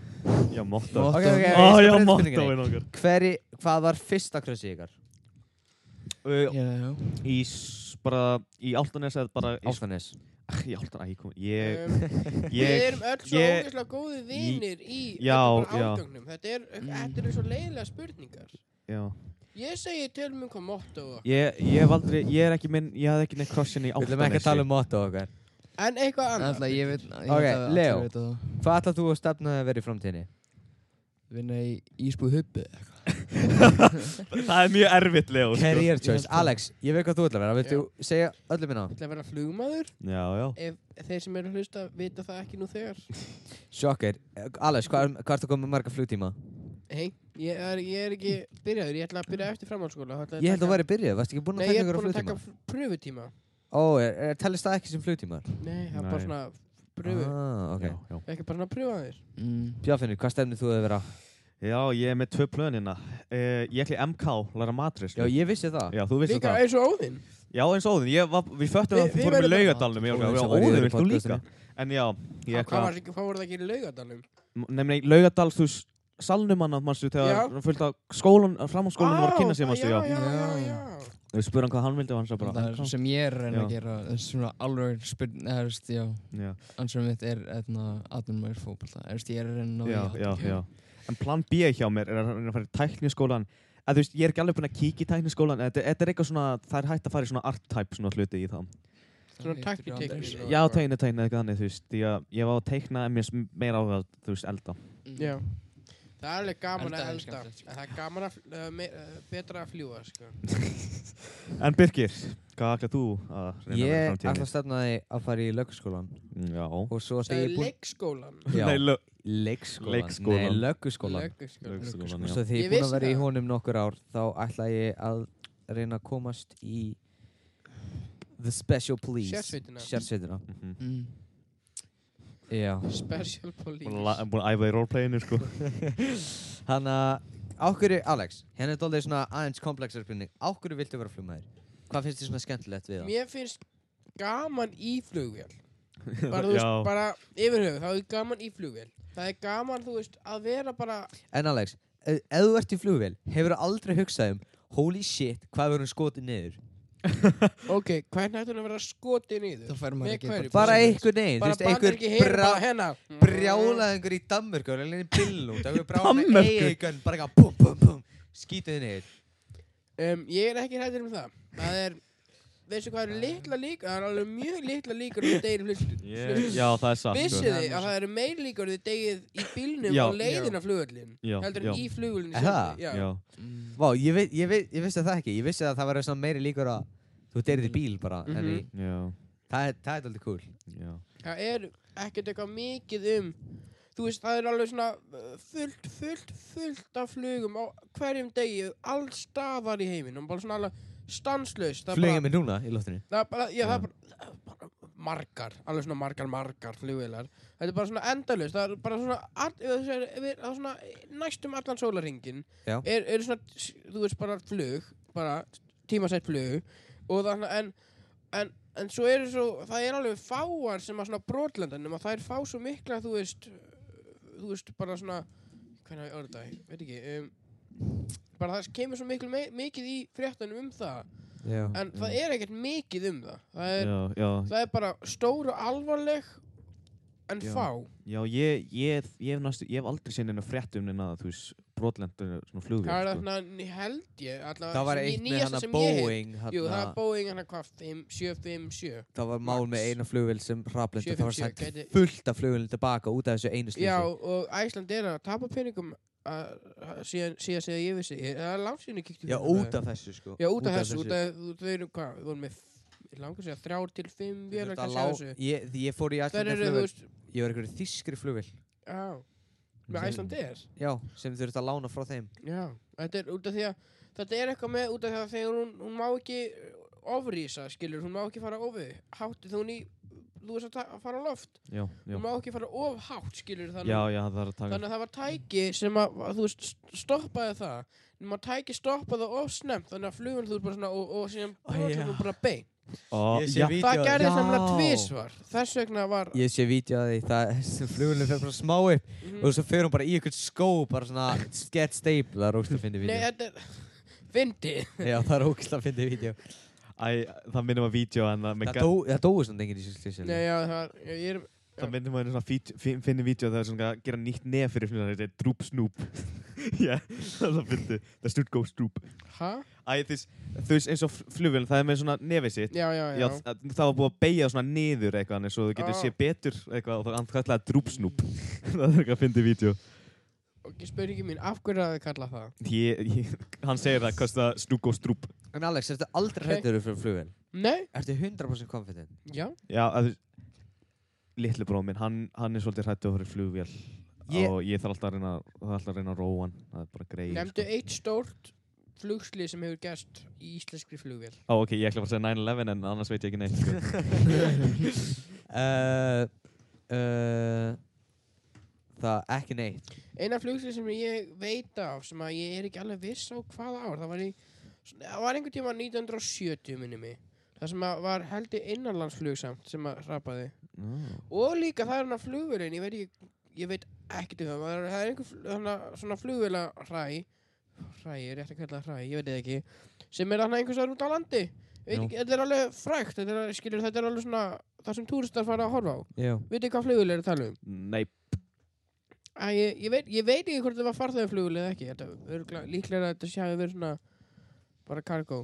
Speaker 2: Já, motto.
Speaker 4: Motto.
Speaker 1: Ok, ok,
Speaker 2: Ó,
Speaker 1: ég skal
Speaker 2: já,
Speaker 1: breyta spurningunni.
Speaker 2: mottoin okkar.
Speaker 1: Hverji, hvað var fyrsta krössið ykkar?
Speaker 2: Uh,
Speaker 4: já, já.
Speaker 2: í, s- bara, í áltanes eða bara í,
Speaker 1: Ástanes
Speaker 2: í áltanes, ég kom, ég,
Speaker 3: Um, Við
Speaker 2: ég,
Speaker 3: erum öll svo
Speaker 2: ég-
Speaker 3: ógeðslega góði vinir í
Speaker 2: Já, já.
Speaker 3: ágangnum. Þetta er-
Speaker 4: Mm.
Speaker 3: þetta eru svo leiðilega spurningar.
Speaker 2: já.
Speaker 3: Ég segi um til mér hvað mottóð okkar.
Speaker 2: Ég, ég hef aldrei, ég er ekki minn, ég hafði ekki neitt krossin í
Speaker 1: Við
Speaker 2: áltanesi.
Speaker 1: viljum ekki að tala um motto okkar
Speaker 3: En eitthvað
Speaker 4: Alla,
Speaker 3: annað.
Speaker 4: ég veit, ég
Speaker 1: Ok,
Speaker 4: veit að
Speaker 1: Leo.
Speaker 4: allir veit að það
Speaker 1: Hvað ætlar þú að stefna að vera í framtíðinni?
Speaker 4: vinna í Ísbúð hubbi
Speaker 2: Það er mjög erfitt, Leo. sko.
Speaker 1: Career choice
Speaker 4: held það.
Speaker 1: Alex, ég veit hvað þú ætlar að vera Viltu segja öllum minna?
Speaker 3: Ég ætla að vera flugmaður.
Speaker 2: Já, já.
Speaker 3: Ef þeir sem eru að hlusta vita það ekki nú þegar.
Speaker 1: Sjokker Alex, hvað er- hvað ertu að koma með marga flugtíma?
Speaker 3: Hei, ég er, ég er ekki byrjaður. Ég ætla að byrja eftir framhaldsskóla. þá ætla
Speaker 1: Ég held að
Speaker 3: taka-
Speaker 1: þú væri byrjuð, varstu ekki búin
Speaker 3: Nei,
Speaker 1: að
Speaker 3: ég
Speaker 1: taka
Speaker 3: er
Speaker 1: ykkur á
Speaker 3: búin að
Speaker 1: flugtíma?
Speaker 3: taka pr- pröfutíma.
Speaker 1: Ó, er, er, tellist það ekki sem flugtímar?
Speaker 3: Nei, það er bara
Speaker 2: Nei.
Speaker 3: svona pröfu.
Speaker 1: Ah, ok.
Speaker 2: Já, já.
Speaker 3: Ekki bara svona pröfa þér.
Speaker 4: Mm.
Speaker 1: Bjarfinnur, hvað stefnir þú að vera?
Speaker 2: já, ég er með tvö plön hérna. Uh, ég ætli MK, læra matris.
Speaker 1: Já, ég vissi það.
Speaker 2: já, þú vissir
Speaker 3: Líka
Speaker 2: það.
Speaker 3: eins og óðinn.
Speaker 2: Já, eins og Óðinn. Ég var, við föttum
Speaker 3: Við-
Speaker 2: að
Speaker 3: við
Speaker 2: fórum í
Speaker 3: verðum-
Speaker 2: laugadalnum. Já,
Speaker 1: Óðinn
Speaker 2: já,
Speaker 1: sem var í
Speaker 2: Óðinn,
Speaker 1: öðru
Speaker 2: vilt þú líka?
Speaker 1: podcastinu.
Speaker 2: En já, ég
Speaker 3: Hvað
Speaker 2: eitthvað...
Speaker 3: var hvað voru það að gera í laugadalum?
Speaker 2: Nefnir, laugadals, þú veist, salnum hann, mannstu,
Speaker 3: Já.
Speaker 2: þegar hann fylgta skólan, framháskólanum var að kynna sig, mannstu, já.
Speaker 3: já. Já, já,
Speaker 4: Já.
Speaker 3: já.
Speaker 2: Við spurðum hann hvað hann vildi og hann sagði
Speaker 4: Það
Speaker 2: bara
Speaker 4: er
Speaker 2: MK.
Speaker 4: sem ég er að reyna að
Speaker 2: Já.
Speaker 4: gera það er svona alveg spurning, eða þú veist, já
Speaker 2: Já,
Speaker 4: ansvarum mitt er hérna, aðnumæður fókbalta eða þú veist, ég er að reyna að ná í
Speaker 2: já,
Speaker 4: að-
Speaker 2: já, já. En plan B hjá mér er að reyna að fara í tækniskólan. Að, þú veist, ég er ekki alveg búinn að kíkja í tækniskólan, en þetta, þetta er eitthvað svona, það er hægt að fara í svona art-type svona hluti í það.
Speaker 4: Það
Speaker 3: Svona
Speaker 4: heitir
Speaker 3: taktík-
Speaker 4: aldrei.
Speaker 3: teknísk.
Speaker 2: Já, tegna, tegna eitthvað þannig, þú veist, því að ég var að teikna en mér finnst meira áhuga, á, þú veist, elda.
Speaker 4: Mm.
Speaker 3: Já. Það er alveg gaman
Speaker 4: Elda
Speaker 3: að
Speaker 4: er
Speaker 3: elda.
Speaker 4: skemmtilegt, sko.
Speaker 3: En það er gaman að, fl- uh, me- uh, betra að fljúa, sko.
Speaker 2: En Birgir, hvað ætlað þú að reyna að
Speaker 1: Ég
Speaker 2: vera í
Speaker 1: ætla að
Speaker 2: framtíðinni?
Speaker 1: stefna því að fara í lögskólan
Speaker 2: Já,
Speaker 1: og svo
Speaker 3: Það
Speaker 1: þegar
Speaker 3: er
Speaker 1: ég búinn...
Speaker 3: leikskólan.
Speaker 1: Já,
Speaker 2: Nei, lö-
Speaker 1: leikskólan.
Speaker 2: Leikskólan.
Speaker 1: Nei, lögskólan.
Speaker 3: Leikskólan.
Speaker 2: Lögskólan,
Speaker 1: Og
Speaker 2: já.
Speaker 1: svo þegar ég
Speaker 3: Ég
Speaker 1: er búinn
Speaker 3: vissi
Speaker 1: að vera í
Speaker 3: það.
Speaker 1: honum nokkur ár þá ætla ég að reyna að komast í The Special Police.
Speaker 3: Sérsveitina.
Speaker 1: Sérsveitina.
Speaker 2: Mhm.
Speaker 4: Mm.
Speaker 1: Já.
Speaker 3: Special police.
Speaker 2: Búin að la- búin að æfa í roleplayinu, sko.
Speaker 1: Þannig að, ákveður, Alex, hérna er doldið svona aðeins komplexar spurning. Ákveður viltu vera flugmaður? Hvað finnst þér svona skemmtilegt við það?
Speaker 3: Mér finnst gaman í flugvél. Bara, þú veist,
Speaker 2: Já.
Speaker 3: bara yfir höfuð, það er gaman í flugvél. Það er gaman, þú veist, að vera bara...
Speaker 1: En Alex, ef ef þú ert í flugvél, hefur þú aldrei hugsað um holy shit, hvað verður hún skotið niður?
Speaker 3: Ok, hvernig ættum við að vera skotið niður?
Speaker 4: Þá fær maður
Speaker 3: Með
Speaker 4: ekki
Speaker 3: hverju?
Speaker 1: Bara
Speaker 4: Sem
Speaker 1: einhver neginn, þú
Speaker 3: Bara
Speaker 1: veist, einhver
Speaker 3: bandaríki herin,
Speaker 1: brá,
Speaker 3: bara hérna. hennar.
Speaker 1: brjálaðingur í Danmörku, hann er lenni billund, einhver brjálaðingur
Speaker 2: Danmörku?
Speaker 1: eigingun, bara eitthvað bum bum bum, skítið þið niður.
Speaker 3: Um, ég er ekki hættur um það. Það er, veistu hvað eru litla líkur, það eru alveg mjög litla líkur um deyri flugvél.
Speaker 2: Já, það er satt, sko.
Speaker 3: Vissið þið að það eru meir líkur þið degið í bílnum
Speaker 2: Já.
Speaker 3: á leiðin af flugvöllin
Speaker 2: Já,
Speaker 3: heldur
Speaker 2: já.
Speaker 3: en í flugvöllin
Speaker 1: Er það?
Speaker 3: Já.
Speaker 2: Já.
Speaker 4: Mm.
Speaker 1: Vá, ég, vi, ég, vi, ég vissi það ekki, ég vissi að það verður svona meiri líkur að þú deyrið í bíl bara, en
Speaker 3: Mhm.
Speaker 1: í,
Speaker 2: Já,
Speaker 1: það, er- það er aldrei cool.
Speaker 2: já.
Speaker 3: Það er ekkert eitthvað mikið um Þú veist, það er alveg svona uh, fullt, fullt, fullt af flugum á hverjum degi, alls staðar í heiminum, bara svona alveg stanslaust. Það er
Speaker 1: Flugið
Speaker 3: bara-
Speaker 1: mig núna í loftinu.
Speaker 3: Það er bara, já, það
Speaker 2: Já.
Speaker 3: er bara, það er bara margar, alveg svona margar, margar flugvélar. Þetta er bara svona endalaust, það er bara svona, all, ef þú segir, ef við- það er svona næstum allan sólaringin,
Speaker 1: Já.
Speaker 3: er, er svona, þú veist, bara flug, bara tímasætt flug, og það er svona, en, en, en svo eru svo, það er alveg fáar sem að svona brotlendanum, að það er fá svo mikla, þú veist, þú veist, bara svona, hvernig á ég að orða það, veit ekki, um, bara það kemur svo miklu, me- mikið í fréttanum um það,
Speaker 1: Já.
Speaker 3: en það er ekkert mikið um það það er,
Speaker 2: Já, já.
Speaker 3: það er bara stór og alvarleg en
Speaker 2: Já.
Speaker 3: fá
Speaker 2: Já, ég, ég, ég, hef næstu, ég hef aldrei séð neina fréttum neina, þú veist, brotlendur svona flugvél,
Speaker 3: það er
Speaker 2: sko.
Speaker 3: þarna, ný- held ég allavega,
Speaker 1: Það var
Speaker 3: uh, sem ný-
Speaker 1: eitt með
Speaker 3: nýjasta
Speaker 1: hana
Speaker 3: sem ég hef-
Speaker 1: Boeing,
Speaker 3: jú, það er
Speaker 1: hana,
Speaker 3: Boeing hana hvað, 5, 7, 5, 7
Speaker 1: það var mál með
Speaker 3: Max.
Speaker 1: eina flugvél sem hraplenda, það var
Speaker 3: 757,
Speaker 1: sent
Speaker 3: gæti-
Speaker 1: fullt af flugvélum tilbaka út af þessu einu slísi.
Speaker 3: já, og Æsland er að tapa peningum að- að- síðan síðan segja ég vissi Ég- það er langt síðan ég kíkti
Speaker 1: Já, út af þessu sko.
Speaker 3: já, út af þessu, út af þau eru hvað, við vorum með f- langar sér að þrjár til fimm
Speaker 1: Ég,
Speaker 3: vélar kannski að
Speaker 1: lá,
Speaker 3: þessu
Speaker 1: ég, því ég fór í
Speaker 3: það
Speaker 1: Æslanda
Speaker 3: eru, þú
Speaker 1: flugvél
Speaker 3: veist,
Speaker 1: Ég var einhverju þýskri flugvél
Speaker 3: já með Æsland er
Speaker 1: Já, sem þurft að lána frá þeim
Speaker 3: Já, þetta er út af því að þetta er eitthvað með út af því að þegar hún, hún má ekki ofrýsa, skilur, hún má ekki fara ofu hátt, þegar hún í þú veist að, ta- að fara á loft,
Speaker 2: Já, já.
Speaker 3: hún má ekki fara of hátt, skilur, þannig,
Speaker 2: já, já, það er að taka
Speaker 3: þannig að það var tæki sem að, að þú veist, st- stoppaði það nema tæki stoppaði það of snemmt þannig að flugun þú veist bara svona og, og síðan
Speaker 1: Ó, já.
Speaker 3: brotlum hún bara bein
Speaker 2: Ó,
Speaker 1: Ég sé
Speaker 2: já,
Speaker 1: vídeó-
Speaker 3: það gerði
Speaker 1: Já.
Speaker 3: samlega tvísvar, þess vegna var
Speaker 1: Ég sé vídeo að því það sem flugvélum fer bara smá upp
Speaker 3: Mhm.
Speaker 1: og svo fer hún bara í einhvern skó bara svona skett staple það er ógst að finna
Speaker 3: Nei,
Speaker 1: vídeo
Speaker 3: þetta er fyndið
Speaker 1: Já, það er ógst að finna vídeo
Speaker 2: Æ, það minnum að vídeo en það,
Speaker 1: Það
Speaker 2: með-
Speaker 1: dó- það dói svona enginn í þessu slísi
Speaker 3: Nei, já, það var, ég er
Speaker 2: það minnum að svona fít- fin- finni vídeo það er svona að gera nýtt nef fyrir flugan þetta er droop snoop já, það finnst þið það stúrt góð snoop
Speaker 3: hæ?
Speaker 2: Æ, þess, þú veist eins og flugvél það er með svona nefið sitt
Speaker 3: Já, já, já,
Speaker 2: Já, þ- það var búið að beigja svona niður eitthvað þannig svo þú getur
Speaker 3: Já.
Speaker 2: séð betur eitthvað og það hann kallaði drúpsnúp það er eitthvað að fyndi vídeo
Speaker 3: og spurningi mín, af hverju að þið kalla það?
Speaker 2: ég, ég, hann segir það, kosta snúk og strúp
Speaker 1: En Alex, ertu aldrei
Speaker 3: Ok.
Speaker 1: hrættur fyrir flugvél?
Speaker 3: Nei,
Speaker 1: Ertu 100% confident?
Speaker 3: já,
Speaker 2: já, að, litli bróð minn, hann, hann er svolítið hrættu að fyrir flugvél
Speaker 1: Ég-
Speaker 2: og ég þarf alltaf að reyna það er alltaf að reyna að róa hann, það er bara greið
Speaker 3: nefndu eitt stórt flugslið sem hefur gerst í íslenskri flugvél
Speaker 2: Á, ok, ég ætla bara að segja 9-11 en annars veit ég ekki neitt sko.
Speaker 1: uh, uh, Það ekki neitt
Speaker 3: eina flugslið sem ég veit af sem að ég er ekki alveg viss á hvaða ár það var, í, það var einhvern tíma 1970 minni mig það sem að var heldur innanlandsflug samt sem að rapaði og líka það er hann að flugvélin ég veit, ekki, ég veit ekkert um það maður- það er einhver fl- þarna svona flugvéla hræ hræ, ég er rétt að kalla það hræ, ég veit það ekki sem er hann einhvers vegar út á landi Ég veit
Speaker 1: Jú.
Speaker 3: ekki, þetta er alveg frækt þetta er, skilur, þetta er alveg svona það sem túristar fara að horfa á
Speaker 1: Já
Speaker 3: veit ekki hvað flugvél er að tala um
Speaker 2: Nei,
Speaker 3: Æ, ég, ég, veit, ég veit ekki hvort það var farþegaflugvél eða ekki þetta, örgla, líklega að þetta sé hafi verið svona bara cargo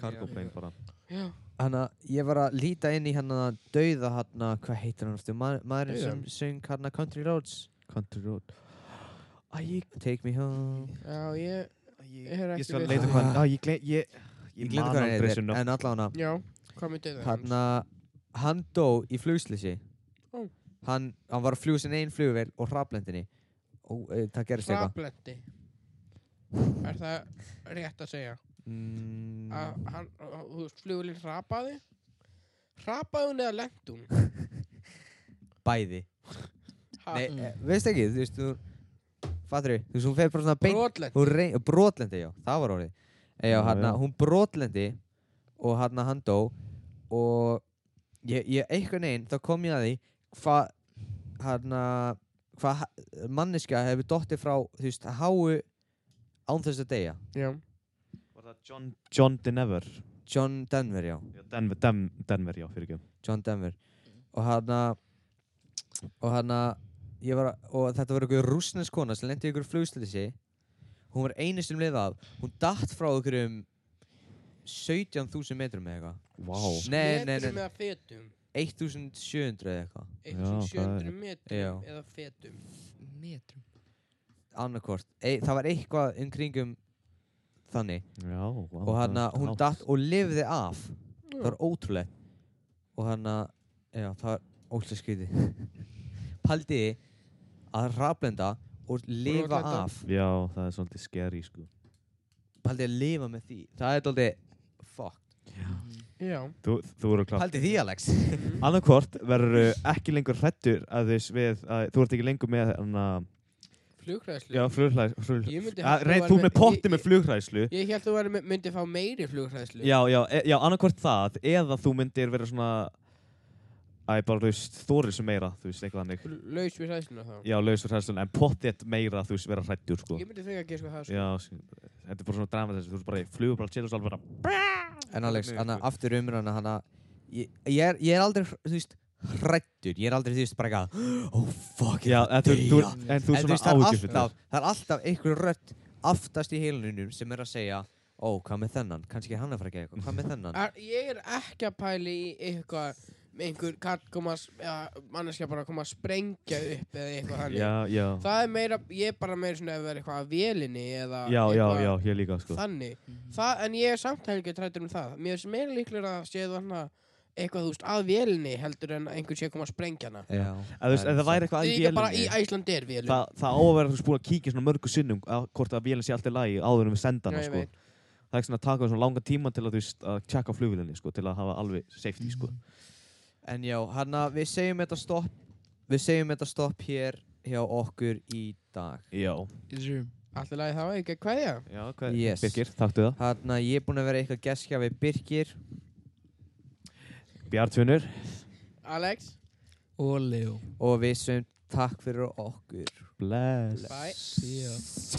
Speaker 2: cargo plane bara
Speaker 3: já,
Speaker 1: Hanna, ég var að líta inn í hann að dauða hann að, hvað heitir hann aftur, Ma maðurinn
Speaker 3: Dauða?
Speaker 1: sem söng hann að Country Roads
Speaker 2: Country Road Æ, ég,
Speaker 1: Take me home
Speaker 3: já, ég
Speaker 2: ég,
Speaker 3: Ég er
Speaker 2: ég
Speaker 3: ekki
Speaker 2: skal
Speaker 3: við-
Speaker 2: leita hvað Æ, ég glem, ég
Speaker 1: Ég
Speaker 2: Ég, man
Speaker 1: glinda hvað hann
Speaker 2: aldrei
Speaker 1: heitir,
Speaker 2: þessu nöfn.
Speaker 1: en allan hann
Speaker 3: já, hvað myndið það
Speaker 1: Hann að hann dó í flugslýsi
Speaker 3: Ó.
Speaker 1: hann, hann var að fljúa sinni einn flugvél og hraplendinni og e, það gerist eitthvað
Speaker 3: Frablendi Er það rétt að segja
Speaker 1: mm,
Speaker 3: að hann, að- að- þú veist, flugulinn hrapaði hrapaði hún eða lendi hún
Speaker 1: Bæði
Speaker 3: Ha,
Speaker 1: Nei,
Speaker 4: Mm.
Speaker 1: e, veist ekki, þú veist, þú Fattur þú veist, hún fer bara svona beint
Speaker 3: brotlent
Speaker 1: hún rey, brotlendi, já, það var orðið e, já,
Speaker 2: Já,
Speaker 1: hana,
Speaker 2: já.
Speaker 1: hún brotlendi og hana, hann dó og ég, ég einhvern veginn, þá kom ég að því hvað hana, hva manniska hefur dottið frá, þú veist, háu án þess að deyja
Speaker 3: já,
Speaker 2: Var það John, John Denver
Speaker 1: John Denver, já,
Speaker 2: Já, Denver, Dem, Denver, já, fyrir ekki
Speaker 1: John Denver og hana og hana ég var, að- og þetta var einhver rúsnesk kona sem lendi ykkur flugstilisi hún var einu sem liða af hún datt frá ykkur um 17.000 metrum eða eitthvað
Speaker 2: Vá
Speaker 1: Nei, nei,
Speaker 3: Metrum
Speaker 1: nei,
Speaker 3: eða fetum
Speaker 1: 1700 eða eitthvað
Speaker 3: 1700
Speaker 2: Já,
Speaker 3: metrum
Speaker 1: Já.
Speaker 3: eða fetum
Speaker 4: Metrum.
Speaker 1: annarkvort, e, það var eitthvað um kringum þannig
Speaker 2: Já, vá
Speaker 1: og hann að hún
Speaker 2: datt
Speaker 1: datt og lifði af það var ótrúlegt og hann að, já, það var ótrúlega skrítið paldiði að raflenda og lifa
Speaker 3: Brotlenda.
Speaker 1: af
Speaker 2: Já, það er svolítið scary, sko
Speaker 1: paldiði að lifa með því, það er dálítið fucked,
Speaker 3: já,
Speaker 2: Þú, þú eru klart
Speaker 1: paldiði því Alex
Speaker 2: Annarkvort verður ekki lengur hrættur að þess við að þú ert ekki lengur með hann að
Speaker 3: flugræðslu
Speaker 2: Já, flughræðslu
Speaker 3: Ég myndi halda
Speaker 2: Reyð
Speaker 3: að
Speaker 2: þú
Speaker 3: væri
Speaker 2: með
Speaker 3: með-
Speaker 2: potti
Speaker 3: ég-
Speaker 2: með flughræðslu
Speaker 3: ég held þú væri- myndi fá meiri flugræðslu
Speaker 2: Já, já, e- já, annarkvort það eða þú myndir vera svona Æ, bara, þú veist, þórið sem meira, þú veist, eitthvað hannig
Speaker 3: laus við ræðsluna þá
Speaker 2: Já, lausur hræðslun, en pottið meira, þú veist, vera hrættur, sko
Speaker 3: ég myndi þegar að gera sko það sko.
Speaker 2: Já, sí- þetta er bara svona drama þessi, þú veist bara, ég flugur bara til og svo alveg bara
Speaker 1: en Alex,
Speaker 2: Nei,
Speaker 1: hann
Speaker 2: sko.
Speaker 1: að aftur umræna hann að, ég, ég, er- ég er aldrei þú veist, hrættur, ég er aldrei þú veist bara eitthvað, oh fuck
Speaker 2: Já,
Speaker 1: ég ætla
Speaker 2: en
Speaker 1: að
Speaker 2: þú, þú,
Speaker 1: deyja."
Speaker 2: en þú
Speaker 1: en þú
Speaker 2: svona
Speaker 1: veist, það er
Speaker 2: áhyggjur fyrir
Speaker 1: alltaf, það er alltaf einhver rödd aftast í heilunum sem er að segja ó, hvað með þennan, kannski er hann að fara að gera eitthvað hvað með þennan,
Speaker 3: Er- ég er ekki að pæli í eitthvað einhver kall koma að s- eða manneskja bara að koma að sprengja upp eða eitthvað
Speaker 2: það
Speaker 3: þannig
Speaker 2: Já, já,
Speaker 3: Það er meira, ég er bara meira svona ef það er eitthvað að vélinni eða
Speaker 2: já, já,
Speaker 3: eitthvað
Speaker 2: já, ég líka, sko
Speaker 3: þannig. Það, en ég er samt helgið trættur um það. Mér finnst meira líklega að séð þarna eitthvað, þú veist, að vélinni heldur en að einhver sé að koma að sprengja hana.
Speaker 1: já,
Speaker 2: Ef þú veist, ef það væri eitthvað að
Speaker 3: Líka bara í
Speaker 2: vélinni
Speaker 3: Æslandir vélum.
Speaker 2: Það, það á að vera þú veist búin að kíkja svona mörgu sinnum að hvort að vélinn sé allt í lagi áður en við senda hana
Speaker 3: Já, ég
Speaker 2: sko.
Speaker 3: veit.
Speaker 2: Það er ekki svona að taka svona langan tíma til að þú veist að tjekka á flugvélinni sko, til að hafa alveg safety sko.
Speaker 1: en já, hann að við segjum þetta stopp við segjum þetta stopp hér hjá okkur í dag
Speaker 2: Já,
Speaker 4: Zoom.
Speaker 3: Allt í lagi það var ekki að kveðja.
Speaker 2: já, hvað
Speaker 1: Yes.
Speaker 2: Birgir, þakktu það.
Speaker 1: hann að Hérna, ég er búinn að vera eitthvað geskja við Birgir
Speaker 2: Bjartvinur,
Speaker 3: Alex,
Speaker 4: Og Leo.
Speaker 1: og við segjum takk fyrir okkur
Speaker 2: bless.
Speaker 3: bye.
Speaker 4: See ya.